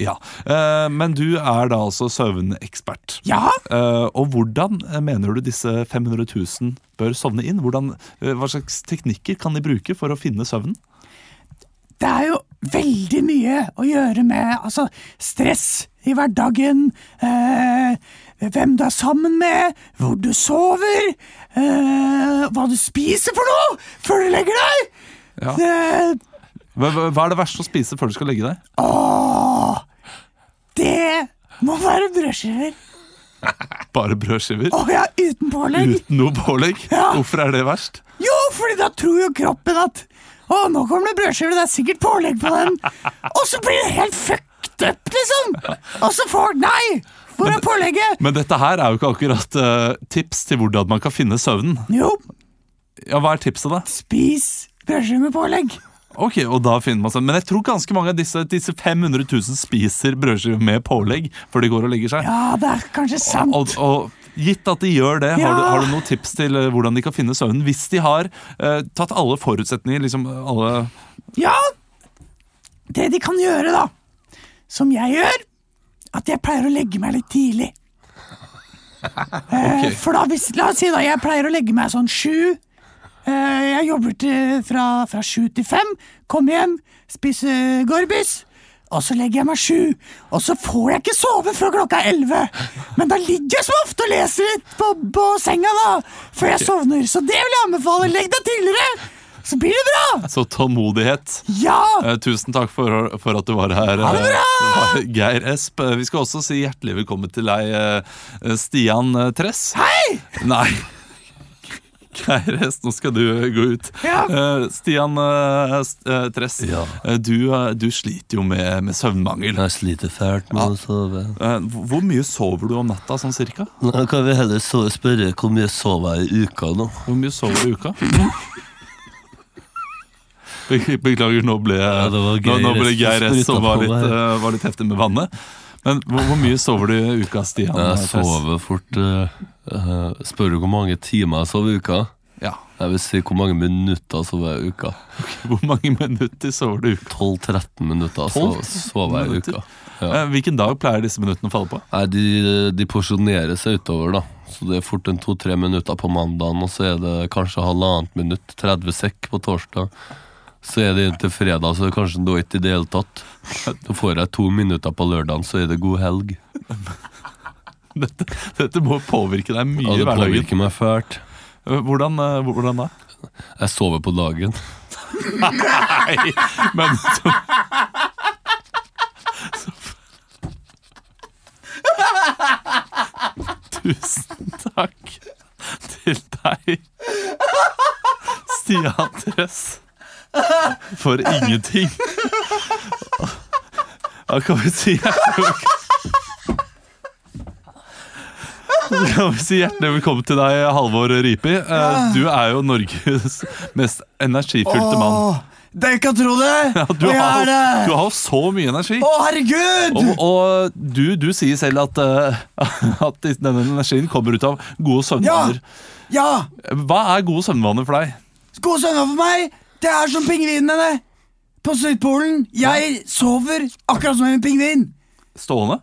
Speaker 1: Ja. Eh, men du er da altså søvnekspert.
Speaker 6: Ja!
Speaker 1: Eh, og hvordan eh, mener du disse 500 000 bør sovne inn? Hvordan, eh, hva slags teknikker kan de bruke for å finne søvnen?
Speaker 6: Det er jo veldig mye å gjøre med altså, stress i hverdagen, eh, hvem du er sammen med, hvor du sover, eh, hva du spiser for noe før du legger deg.
Speaker 1: Ja.
Speaker 6: Eh,
Speaker 1: Hva, hva hva er det verste å spise før du skal legge deg?
Speaker 6: det må være brødskiver.
Speaker 1: Bare brødskiver?
Speaker 6: Å ja, uten pålegg.
Speaker 1: Uten noe pålegg?
Speaker 6: Ja.
Speaker 1: Hvorfor er det verst?
Speaker 6: Jo, fordi da tror jo kroppen at å, nå kommer det brødskive, det er sikkert pålegg på den. Og så blir det helt fucked up, liksom. Og så får Nei! Hvor er pålegget?
Speaker 1: Men dette her er jo ikke akkurat eh, tips til hvordan man kan finne søvnen.
Speaker 6: Jo,
Speaker 1: Ja, Hva er tipset, da?
Speaker 6: spis brødskive med pålegg.
Speaker 1: Ok, og da finner man søvn. Men jeg tror ganske mange av disse, disse 500 000 spiser brødskiver med pålegg før de går og legger seg.
Speaker 6: Ja, det er kanskje sant.
Speaker 1: Og, og gitt at de gjør det, har, du,
Speaker 6: Ja.
Speaker 1: har du noen tips til eh, hvordan de kan finne søvnen? Hvis de har eh, tatt alle forutsetninger, liksom alle
Speaker 6: Ja, det de kan gjøre, da, som jeg gjør, at jeg pleier å legge meg litt tidlig. Eh, For da, hvis, la oss si da, jeg pleier å legge meg sånn sju. Eh, jeg jobber til, fra, fra sju til fem. Kommer hjem, spiser gorbis. Og så legger jeg meg sju. Og så får jeg ikke sove før klokka er elleve. Men da ligger jeg som ofte og leser litt på, på senga da, før jeg sovner. Så det vil jeg anbefale. Legg deg tidligere, så blir det
Speaker 1: <laughs>
Speaker 6: bra.
Speaker 1: Så tålmodighet.
Speaker 6: Ja!
Speaker 1: Eh, Tusen takk for, for at du var her,
Speaker 6: det
Speaker 1: eh, Geir Esp. Eh, Vi skal også si hjertelig velkommen til deg, eh, Stian eh, Tress.
Speaker 6: Hei!
Speaker 1: Nei. Geir Esp, nå skal du eh, gå ut.
Speaker 6: Ja.
Speaker 1: Eh, Stian eh, S- eh, Tress, eh, du, eh, du sliter jo med, med søvnmangel.
Speaker 3: Jeg sliter fælt med å sove.
Speaker 1: Eh, hvor- Hvor mye sover du om natta, sånn cirka?
Speaker 3: Nå kan vi heller så- spørre hvor mye sover jeg i uka nå.
Speaker 1: Hvor mye sover du i uka? Be- Beklager, nå ble,
Speaker 3: det var
Speaker 1: nå, nå ble
Speaker 3: Geir som
Speaker 1: Geir S
Speaker 3: spruta
Speaker 1: som var
Speaker 3: på
Speaker 1: litt,
Speaker 3: meg.
Speaker 1: eh, var litt heftig med vannet. Men hvor, hvor mye sover du i uka, Stian? Eh,
Speaker 3: Jeg
Speaker 1: Tess?
Speaker 3: sover fort eh, eh, Spør du hvor mange timer jeg sover i uka?
Speaker 1: Ja.
Speaker 3: Jeg vil si hvor mange minutter sover jeg i uka.
Speaker 1: Hvor mange minutter sover du i uka?
Speaker 3: 12-13 minutter so-
Speaker 1: 12-13
Speaker 3: sover jeg i
Speaker 1: minutter?
Speaker 3: uka. Ja.
Speaker 1: Eh, Hvilken dag pleier disse minuttene å falle på? <laughs>
Speaker 3: Nei, de, de porsjonerer seg utover, da. Så det er fort en to-tre minutter på mandagen, og så er det kanskje halvannet minutt, 30 sekk på torsdag. Så er det inn til fredag, så er det kanskje da ikke i det hele tatt. Så får jeg to minutter på lørdagen, så er det god helg.
Speaker 1: Dette, dette må påvirke deg mye
Speaker 3: Ja,
Speaker 1: i
Speaker 3: det
Speaker 1: hverdagen.
Speaker 3: påvirker meg fælt.
Speaker 1: Eh, Hvordan, eh, hvordan da?
Speaker 3: Jeg sover på dagen.
Speaker 1: Nei, men så, så, Tusen takk til deg, Stian Tress, for ingenting. Hva kan vi si? hjertelig velkommen- Så kan vi si hjertelig velkommen til deg, Halvor Ripi. Eh, Du er jo Norges mest energifylte mann.
Speaker 6: Åh, dere kan tro det!
Speaker 1: <laughs> Du
Speaker 6: og jeg
Speaker 1: har,
Speaker 6: er
Speaker 1: du
Speaker 6: det!
Speaker 1: har så mye energi.
Speaker 6: Å, herregud!
Speaker 1: Og, og du, du sier selv at, eh, <laughs> at denne energien kommer ut av gode søvnvaner.
Speaker 6: Ja!
Speaker 1: Hva er gode søvnvaner for deg?
Speaker 6: Gode sønner for meg! Det er som pingvinene det. på Sydpolen. Jeg sover akkurat som en pingvin.
Speaker 1: Stående?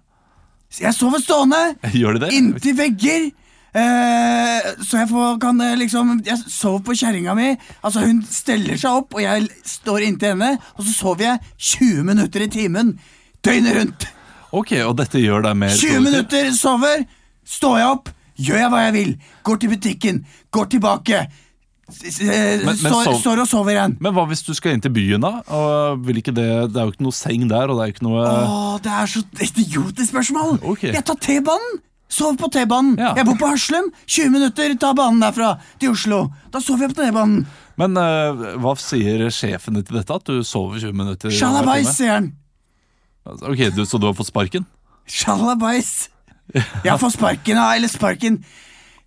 Speaker 6: Jeg sover stående
Speaker 1: Gjør de det?
Speaker 6: inntil vegger. Eh, så jeg får, kan eh, liksom Jeg sover på kjerringa mi. Altså Hun steller seg opp, og jeg står inntil henne. Og så sover jeg 20 minutter i timen døgnet rundt.
Speaker 1: Ok, Og dette gjør deg mer
Speaker 6: 20
Speaker 1: produktiv?
Speaker 6: minutter, sover, står jeg opp, gjør jeg hva jeg vil. Går til butikken, går tilbake. s- s- eh,
Speaker 1: Men- men
Speaker 6: Står,
Speaker 1: sov-
Speaker 6: står og sover igjen.
Speaker 1: Men hva hvis du skal inn til byen, da? Og vil ikke det, det er jo ikke noe seng der, og det er jo ikke noe
Speaker 6: Åh, det er så idiotisk spørsmål!
Speaker 1: Ok.
Speaker 6: Jeg tar T-banen! Sover på T-banen.
Speaker 1: Ja.
Speaker 6: Jeg bor på Haslum. 20 minutter, ta banen derfra til Oslo. Da sover jeg på T-banen.
Speaker 1: Men eh, hva sier sjefene til dette? At du sover 20 minutter? hver
Speaker 6: Shalabais,
Speaker 1: time?
Speaker 6: sier han.
Speaker 1: Ok, du, Så du har fått sparken?
Speaker 6: Shalabais.
Speaker 2: Jeg får sparken av, eller sparken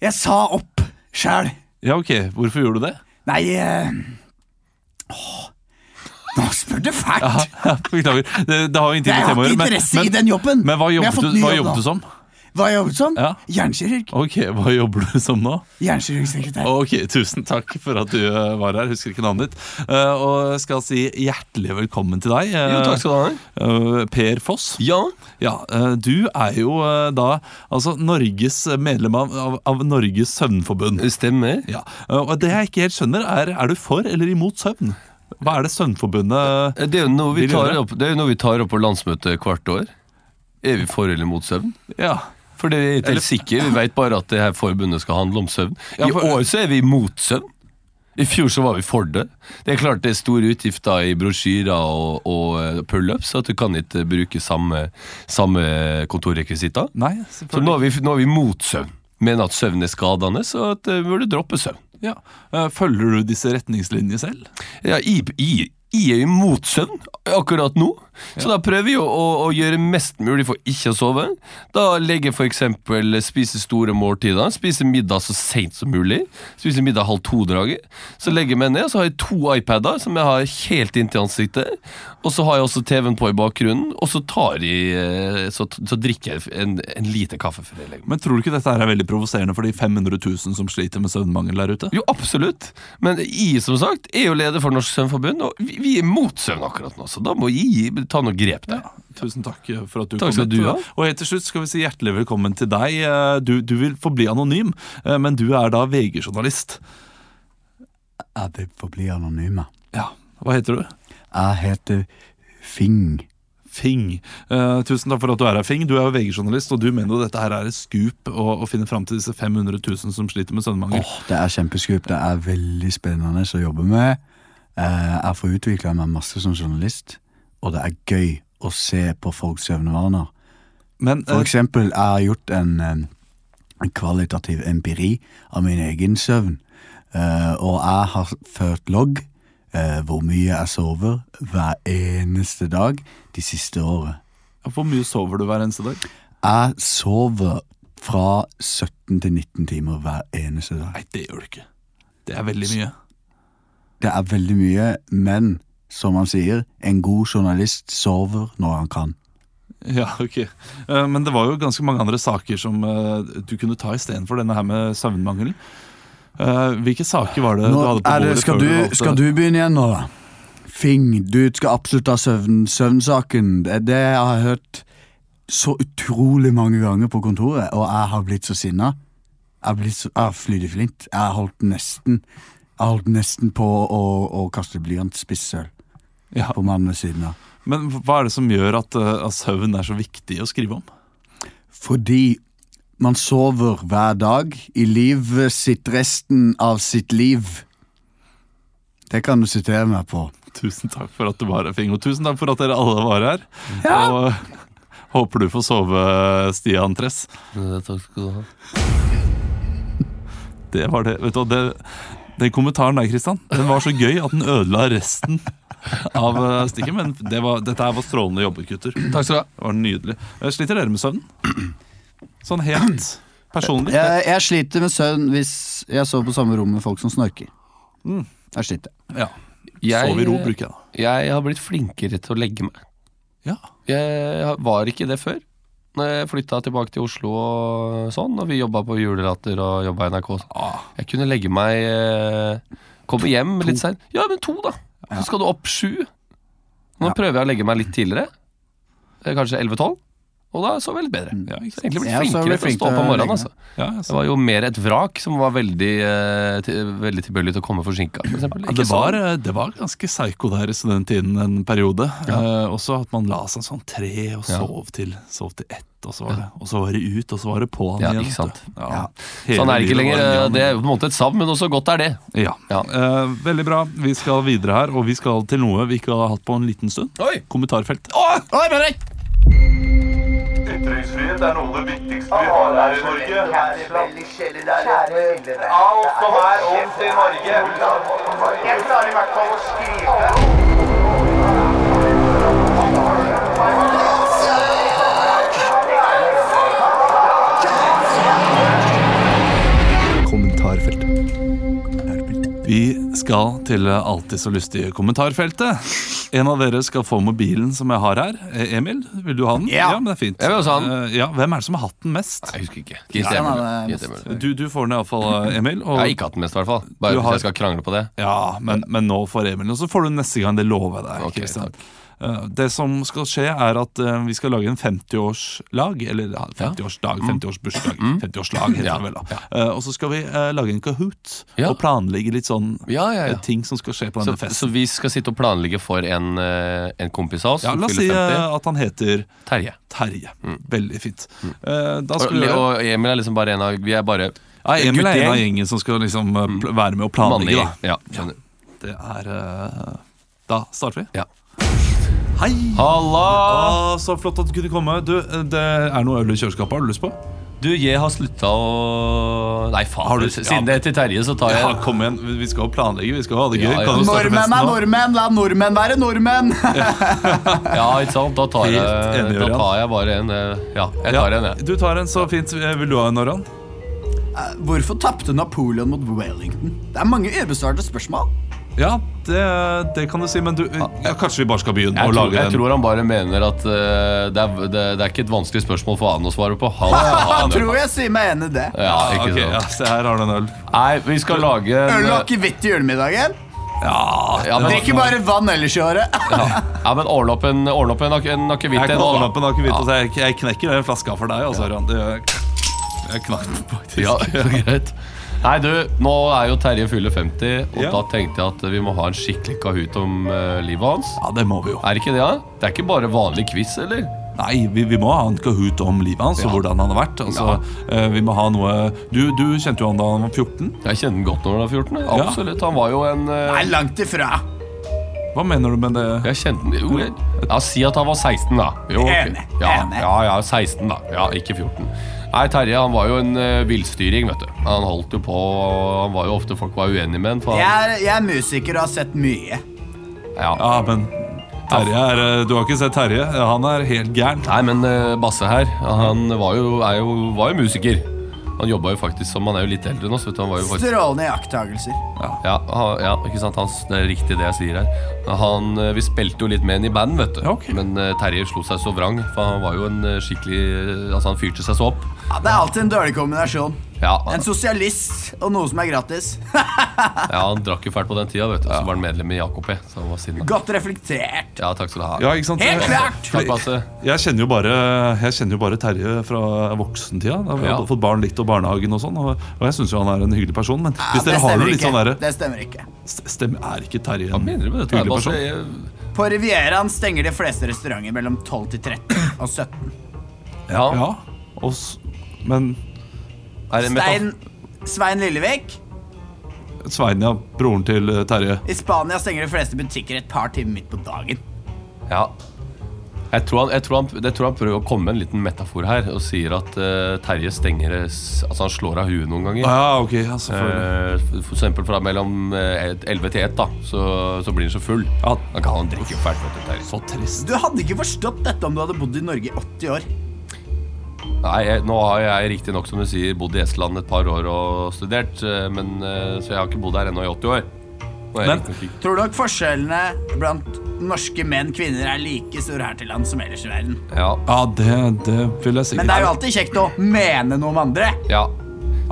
Speaker 2: Jeg sa opp sjæl.
Speaker 1: Ja, ok. Hvorfor gjorde du det? <laughs>
Speaker 2: Nei eh, åh, Nå spør du fælt!
Speaker 1: Ja, Beklager. Det, det har jo ingenting
Speaker 2: jeg
Speaker 1: med temaet
Speaker 2: har
Speaker 1: å
Speaker 2: ikke
Speaker 1: gjøre. men-
Speaker 2: interesse
Speaker 1: men-
Speaker 2: i den jobben.
Speaker 1: Men hva
Speaker 2: jeg har
Speaker 1: jobbet,
Speaker 2: fått
Speaker 1: du,
Speaker 2: ny
Speaker 1: hva
Speaker 2: jobb
Speaker 1: jobbet
Speaker 2: nå.
Speaker 1: du som?
Speaker 2: Hva jeg jobbet som?
Speaker 1: Ja.
Speaker 2: Jernkirurg.
Speaker 1: Ok, Hva jobber du som nå?
Speaker 2: Jernkirurgsekretær.
Speaker 1: Ok, Tusen takk for at du eh, var her. Husker ikke navnet ditt. Eh, Og jeg skal si hjertelig velkommen til deg, eh,
Speaker 3: Jo, takk skal du ha.
Speaker 1: eh, Per Foss.
Speaker 3: Ja.
Speaker 1: Ja, eh, Du er jo eh, da altså Norges medlem av, av, av Norges søvnforbund.
Speaker 3: Stemmer.
Speaker 1: Ja, eh, og Det jeg ikke helt skjønner, er er du for eller imot søvn? Hva er det Søvnforbundet
Speaker 3: Det er jo noe vi
Speaker 1: Vil
Speaker 3: tar
Speaker 1: gjøre.
Speaker 3: opp, det er jo noe vi tar opp på landsmøtet hvert år. Er vi for eller mot søvn?
Speaker 1: Ja,
Speaker 3: For det er ikke helt sikker, Vi vet bare at det her forbundet skal handle om søvn. I
Speaker 1: for-
Speaker 3: år så er vi imot søvn. I fjor så var vi for det. Det er klart det er store utgifter i brosjyrer og, og eh, pullups, så at du kan ikke bruke samme, samme kontorrekvisitter.
Speaker 1: Nei,
Speaker 3: Så nå er vi, nå er vi mot søvn. Mener at søvn er skadende, så at eh, vi burde droppe søvn.
Speaker 1: Ja. Eh, Følger du disse retningslinjene selv?
Speaker 3: Ja, I, I, I er jo mot søvn akkurat nå, så da prøver jeg å, å, å gjøre mest mulig for ikke å sove. Da legger jeg for eksempel spise store måltider, spise middag så sent som mulig, spise middag halv to-draget. Så legger jeg meg ned, så har jeg to iPader som jeg har helt inntil ansiktet, og så har jeg også TV-en på i bakgrunnen, og så, tar jeg, eh, så, så drikker jeg en, en lite kaffe før jeg legger meg.
Speaker 1: Men tror du ikke dette her er veldig provoserende for de 500 000 som sliter med søvnmangel der ute?
Speaker 3: Jo, absolutt. Men I som sagt, er jo leder for Norsk Søvnforbund, og vi, vi er mot søvn akkurat nå, så da må I ta noe grep der.
Speaker 1: Tusen takk for at du
Speaker 3: Takk
Speaker 1: kom
Speaker 3: skal
Speaker 1: hit.
Speaker 3: du ha.
Speaker 1: Og helt til slutt skal vi si hjertelig velkommen til deg. Eh, Du, du vil forbli anonym, eh, men du er da VG-journalist.
Speaker 2: Jeg vil forbli anonyme.
Speaker 1: Ja, Hva heter du?
Speaker 2: Jeg heter Fing.
Speaker 1: Fing. Eh, tusen takk for at du er her, Fing. Du er jo VG-journalist, og du mener jo dette her er et skup å, å finne fram til disse 500 000 som sliter med søvnmangel.
Speaker 2: Det er kjempeskup. Det er veldig spennende å jobbe med. Eh, Jeg får utvikla meg masse som journalist, og det er gøy å se på folks søvnvaner.
Speaker 1: Men eh,
Speaker 2: For eksempel, jeg har gjort en, eh, en kvalitativ empiri av min egen søvn. Eh, og jeg har ført logg eh, hvor mye jeg sover hver eneste dag de siste året.
Speaker 1: eh, hvor mye sover du hver eneste dag?
Speaker 2: Jeg sover fra 17 til 19 timer hver eneste dag.
Speaker 1: Nei, det gjør du ikke. Det er veldig mye.
Speaker 2: Det er veldig mye, men som han sier, en god journalist sover når han kan.
Speaker 1: <laughs> Ja, ok. Eh, Men det var jo ganske mange andre saker som eh, du kunne ta istedenfor denne her med søvnmangelen. Eh, Hvilke saker var det du
Speaker 2: Nå
Speaker 1: hadde på
Speaker 2: er det,
Speaker 1: bordet? før
Speaker 2: skal, du,
Speaker 1: valgte-
Speaker 2: skal du begynne igjen nå, da? Fing, du skal absolutt ha søvn, søvnsaken. Det, det jeg har hørt så utrolig mange ganger på kontoret, og jeg har blitt så sinna. Jeg har blitt så, jeg har flydd i flint. Jeg har holdt nesten Jeg har holdt nesten på å, å kaste blyantspissøl
Speaker 1: Ja.
Speaker 2: på mannen ved siden av.
Speaker 1: Men hva er det som gjør at, eh, at søvn er så viktig å skrive om? <laughs>
Speaker 2: Fordi man sover hver dag i livet sitt resten av sitt liv. Det kan du sitere meg på.
Speaker 1: Tusen takk for at du var her, Fing, og tusen takk for at dere alle var her. Og <laughs> eh, håper du får sove, Stian Tress.
Speaker 3: Takk skal du ha.
Speaker 1: Det var det. Vet du, hva, det, den kommentaren der, Kristian, den var så gøy at den ødela resten av eh, stikket. Men det var, dette her var strålende jobbet, gutter.
Speaker 3: Takk skal du ha.
Speaker 1: Det var nydelig. Eh, Sliter dere med søvnen? <clears throat> Sånn helt personlig?
Speaker 2: Jeg, jeg sliter med søvn hvis jeg sover på samme rom med folk som snorker.
Speaker 1: Mm.
Speaker 2: Jeg sliter.
Speaker 1: Ja.
Speaker 3: Jeg-
Speaker 1: Sov i ro, bruker jeg da.
Speaker 3: Jeg har blitt flinkere til å legge meg.
Speaker 1: Ja.
Speaker 3: Jeg var ikke det før. Når jeg flytta tilbake til Oslo og sånn, og vi jobba på Julelatter og jobba i NRK. og sånn.
Speaker 1: Ah.
Speaker 3: Jeg kunne legge meg eh, Komme hjem litt seint. Ja, men to, da. Så skal du opp sju. Nå prøver jeg å legge meg litt tidligere. Eh, Kanskje 11-12. Og da sover jeg litt bedre.
Speaker 1: Mm. Ja, ikke
Speaker 3: Så jeg
Speaker 1: sant?
Speaker 2: Ja, så har
Speaker 3: har egentlig blitt
Speaker 2: du blitt
Speaker 3: flinkere til å
Speaker 2: flink
Speaker 3: stå
Speaker 2: til
Speaker 3: opp om
Speaker 2: å legge
Speaker 3: morgenen.
Speaker 2: deg.
Speaker 3: Altså.
Speaker 1: Ja, jeg
Speaker 3: Det
Speaker 1: så-
Speaker 3: var jo mer et vrak som var veldig, eh, til, veldig tilbøyelig til å komme forsinka. For eksempel.
Speaker 1: Ja,
Speaker 3: Ikke
Speaker 1: det, var,
Speaker 3: sånn.
Speaker 1: eh, det var ganske psycho der i studenttiden en periode. Eh, også at man la seg sånn tre og sov til sov til ett, og så var det, og så var det ut, og så var det på'n
Speaker 3: Ja,
Speaker 1: igjen.
Speaker 3: ikke
Speaker 1: vet
Speaker 3: sant.
Speaker 1: du. Ja. Hele
Speaker 3: Sånn er det ikke
Speaker 1: livet
Speaker 3: lenger.
Speaker 1: var en gang.
Speaker 3: Det er jo på en måte et savn, men også godt er det.
Speaker 1: Ja.
Speaker 3: Ja.
Speaker 1: Eh, veldig bra. Vi skal videre her, og vi skal til noe vi ikke har hatt på en liten stund.
Speaker 3: Oi!
Speaker 1: Kommentarfelt.
Speaker 7: Ytringsfrihet er noe av det viktigste vi har her i Norge. Alt som er ondt i Norge. Jeg klarer i hvert fall å skrive.
Speaker 1: Vi skal til alltid så lystige kommentarfeltet. En av dere skal få mobilen som jeg har her. Eh, Emil, vil du ha den?
Speaker 2: Ja.
Speaker 1: men det er fint.
Speaker 3: Jeg vil også ha den.
Speaker 1: Eh, Ja, hvem er det som har hatt den mest?
Speaker 3: Jeg husker ikke.
Speaker 2: Ja,
Speaker 3: Gitt Emil.
Speaker 2: nei, det er
Speaker 3: Gitt Emil.
Speaker 1: Du, du får den iallfall, eh, Emil.
Speaker 3: Jeg
Speaker 1: Og,
Speaker 3: har ikke hatt den mest, i hvert fall. Bare
Speaker 1: Du
Speaker 3: hvis
Speaker 1: har-
Speaker 3: jeg skal krangle på det.
Speaker 1: Ja, men, men nå får Emil, og så får du den neste gang. Det lover jeg deg.
Speaker 3: Ok,
Speaker 1: Kristian. Eh, Det som skal skje, er at eh, vi skal lage en 50-årslag. Eller ja, 50-årsdag,
Speaker 3: Mm.
Speaker 1: 50-årsbursdag. 50-årslag heter det vel, da. Eh, og så skal vi eh, lage en Kahoot
Speaker 3: Ja.
Speaker 1: og planlegge litt sånn
Speaker 3: Ja, ja, ja.
Speaker 1: eh, ting som skal skje på
Speaker 3: Så,
Speaker 1: denne festen.
Speaker 3: så vi skal sitte og planlegge for en, eh, en kompis av oss
Speaker 1: Ja,
Speaker 3: som
Speaker 1: la oss si
Speaker 3: fyller 50.
Speaker 1: eh, at han heter
Speaker 3: Terje.
Speaker 1: Terje. Veldig fint. Eh, da
Speaker 3: Mm. Og,
Speaker 1: skal vi gjøre
Speaker 3: og Emil er liksom bare en av Vi er bare
Speaker 1: ja, Emil er en av
Speaker 3: guttegjeng.
Speaker 1: gjengen som skal liksom eh, pl- være med og
Speaker 3: mann i
Speaker 1: planlegge. Da.
Speaker 3: Mm. Ja, skjønner.
Speaker 1: Det er eh, Da starter vi.
Speaker 3: Ja.
Speaker 1: Hei!
Speaker 3: Halla!
Speaker 1: Ah, så flott at du kunne komme. Du, eh, det er noe øl i kjøleskapet. Har du lyst på?
Speaker 3: Du, jeg har slutta å Nei, faen.
Speaker 1: Har du-
Speaker 3: Siden det er til Terje, så tar jeg
Speaker 1: Ja, kom igjen. Vi- Vi skal jo planlegge. Vi skal jo ha det gøy.
Speaker 3: Ja, ja.
Speaker 1: Kan du starte
Speaker 2: Nordmenn
Speaker 1: festen
Speaker 2: er
Speaker 1: nå?
Speaker 2: nordmenn! La nordmenn være nordmenn! <laughs>
Speaker 3: Ja, ikke sant? Da tar, jeg,
Speaker 1: Helt enig,
Speaker 3: da
Speaker 1: Ørjan.
Speaker 3: tar jeg bare en eh, Ja, jeg tar en, jeg.
Speaker 1: Du tar en, så fint. Eh, Vil du ha en, Aron?
Speaker 2: Hvorfor tapte Napoleon mot Wellington? Det er mange ubesvarte spørsmål.
Speaker 1: Ja, det, det kan du si, men du ja, Kanskje vi bare skal begynne å
Speaker 3: Jeg tror,
Speaker 1: lage
Speaker 3: jeg
Speaker 1: en
Speaker 3: tror han bare mener at eh, det, er, det, det er ikke et vanskelig spørsmål for han å svare på.
Speaker 1: <laughs>
Speaker 3: Han,
Speaker 2: Jeg
Speaker 3: han,
Speaker 2: tror jeg sier meg enig i det.
Speaker 3: ja,
Speaker 1: Ja,
Speaker 3: ikke
Speaker 1: ok, ja,
Speaker 3: sant.
Speaker 1: se her har du en øl.
Speaker 3: Nei, vi skal lage en,
Speaker 2: Øl og akevitt i julemiddagen.
Speaker 3: ja, men,
Speaker 2: Drikker bare vann ellers i året.
Speaker 3: ja, men ordne opp en, ordne opp en, ak- en akevitt.
Speaker 1: Jeg
Speaker 3: en,
Speaker 1: kan
Speaker 3: da.
Speaker 1: ordne opp en akevitt. og så Jeg, jeg knekker den flaska for deg. Altså, Ørjan. Det- Jeg knakk den faktisk.
Speaker 3: Ja, <laughs> greit. Nei, du, nå er jo Terje fyller 50, og
Speaker 1: Ja.
Speaker 3: da tenkte jeg at vi må ha en skikkelig kahoot om eh, livet hans.
Speaker 1: Ja, det må vi jo.
Speaker 3: Er det ikke det, da? Det er ikke bare vanlig quiz, eller?
Speaker 1: Nei, vi, vi må ha en kahoot om livet hans og hvordan han har vært. Altså, eh, Vi må ha noe du, du kjente jo han da han var 14.
Speaker 3: Jeg kjenner den godt når han er 14. jeg. Absolutt. Han var jo en eh,
Speaker 2: Nei, langt ifra.
Speaker 1: Hva mener du med det?
Speaker 3: Jeg kjente den jo, jeg, ja, Si at han var 16, da. Jo, ok.
Speaker 2: Enig,
Speaker 3: Ja,
Speaker 2: enig.
Speaker 3: ja, ja, 16, da. Ja, ikke 14. Nei, Terje han var jo en uh, villstyring, vet du. Han holdt jo på og Han var jo ofte folk var uenige med han. For
Speaker 2: Jeg
Speaker 3: han,
Speaker 2: er, jeg er musiker og har sett mye.
Speaker 3: ja.
Speaker 1: Ja, men Terje er eh, Du har ikke sett Terje? Han er helt gæren.
Speaker 3: Nei, men eh, Basse her, han var jo, er jo, var jo musiker. Han jobba jo faktisk som Han er jo litt eldre nå, så vet du. Han var jo faktisk
Speaker 2: Strålende iakttagelser.
Speaker 3: Ja, ha- ja ikke sant? Han, det er riktig det jeg sier her. Han, eh, vi spilte jo litt med han i band, vet du.
Speaker 1: Ja, ok.
Speaker 3: Men eh, Terje slo seg så vrang, for han var jo en eh, skikkelig Altså, han fyrte seg så opp.
Speaker 2: Ja, det er alltid en dårlig kombinasjon.
Speaker 3: Ja,
Speaker 2: En sosialist og noe som er gratis.
Speaker 3: ja han drakk jo fælt på den tida, vet du. Så var han medlem i AKP, så han var sinna.
Speaker 2: Godt reflektert.
Speaker 3: Ja, takk skal du ha.
Speaker 1: Ja, ikke sant?
Speaker 2: Helt klart!
Speaker 3: Takk, Basse.
Speaker 1: Jeg kjenner jo bare, jeg kjenner jo bare Terje fra voksentida. Da vi
Speaker 3: Ja.
Speaker 1: hadde fått barn litt og barnehagen og sånn. Og, og jeg syns jo han er en hyggelig person, men
Speaker 2: Ja,
Speaker 1: hvis
Speaker 2: det
Speaker 1: dere har
Speaker 2: stemmer
Speaker 1: noe litt
Speaker 2: ikke.
Speaker 1: sånn derre
Speaker 2: Det stemmer ikke.
Speaker 1: Stem, er ikke Terje
Speaker 3: Hva
Speaker 1: en
Speaker 3: mener du med dette? her,
Speaker 1: hyggelig
Speaker 3: Basse?
Speaker 1: person?
Speaker 2: På Rivieraen stenger de fleste restauranter mellom 12 til 13 og 17.
Speaker 3: Ja.
Speaker 1: Ja, og, s- men
Speaker 3: Er det en metafor?
Speaker 2: Stein, Svein Lillevik.
Speaker 1: Svein, ja. Broren til eh, Terje.
Speaker 2: I Spania stenger de fleste butikker et par timer midt på dagen.
Speaker 3: Ja. Jeg tror, han, jeg, tror han, jeg tror han prøver å komme med en liten metafor her og sier at eh, Terje stenger eh, s- Altså, han slår av huet noen ganger.
Speaker 1: Ah, Ja, ok, ja, selvfølgelig.
Speaker 3: Eh, for- for eksempel fra mellom eh, 11 til 1 da Så, så blir han så full
Speaker 1: Ja.
Speaker 3: Han kan han drikke jo fælt vet du, Terje.
Speaker 1: Så trist.
Speaker 2: Du hadde ikke forstått dette om du hadde bodd i Norge i 80 år.
Speaker 3: Nei, jeg, nå har jeg riktig nok som du sier Bodd i Estland et par år og studert eh, men, eh, Så jeg har ikke bodd her ennå i 80 år Nå er jeg
Speaker 1: Men-
Speaker 3: riktig nok ikke-
Speaker 2: Tror du nok forskjellene blant norske menn kvinner er like store her til lands som ellers i verden.
Speaker 3: ja,
Speaker 1: Ja, det, det vil jeg si.
Speaker 2: Men det er jo alltid kjekt å mene noe om andre.
Speaker 3: ja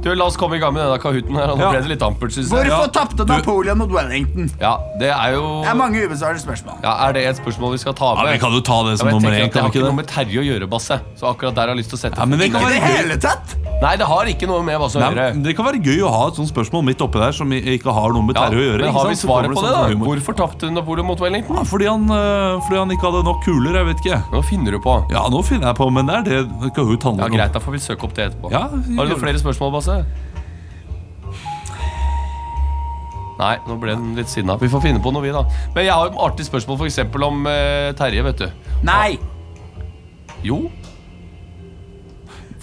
Speaker 3: Du, la oss komme i gang med denne kahuten her og Nå
Speaker 1: Ja.
Speaker 3: ble det litt ampert synes jeg
Speaker 2: Hvorfor tapte Napoleon mot Wellington?
Speaker 3: Ja, det er jo
Speaker 2: Det er mange ubesvarte spørsmål.
Speaker 3: ja, Er det et spørsmål vi skal ta
Speaker 1: Ja,
Speaker 3: med?
Speaker 1: Vi kan jo ta det
Speaker 3: Ja,
Speaker 1: som
Speaker 3: men jeg
Speaker 1: nummer
Speaker 3: tenker
Speaker 1: én,
Speaker 3: at Det
Speaker 1: kan vi
Speaker 3: har ikke
Speaker 1: ikke
Speaker 3: noe
Speaker 1: det?
Speaker 3: med Terje å gjøre, Basse Så akkurat der har jeg lyst til å sette
Speaker 1: Ja, men det kan
Speaker 2: Ikke i det
Speaker 1: være gøy.
Speaker 2: hele tatt!
Speaker 3: Nei, det har ikke noe med Basse å
Speaker 1: Nei,
Speaker 3: gjøre
Speaker 1: men det kan være gøy å ha et sånt spørsmål midt oppi der som i- ikke har noe med
Speaker 3: Ja,
Speaker 1: Terje å gjøre.
Speaker 3: men
Speaker 1: ikke
Speaker 3: har vi
Speaker 1: sant? Så kommer
Speaker 3: svaret på det,
Speaker 1: sånn
Speaker 3: da?
Speaker 1: humor.
Speaker 3: Hvorfor tapte Napoleon mot Wellington?
Speaker 1: Ja, fordi, han, øh, fordi han ikke hadde nok kuler, jeg vet ikke.
Speaker 3: Nå finner du på.
Speaker 1: Ja, nå finner jeg på, men det er det Kahoot
Speaker 3: Ja,
Speaker 1: handler
Speaker 3: Greit, da får vi søke opp det etterpå.
Speaker 1: Ja,
Speaker 3: Har du noen flere spørsmål, Basse? Nei, nå ble den litt sinna. Vi får finne på noe, vi, da. Men jeg har et artig spørsmål f.eks. om eh, Terje, vet du.
Speaker 2: Nei!
Speaker 3: Jo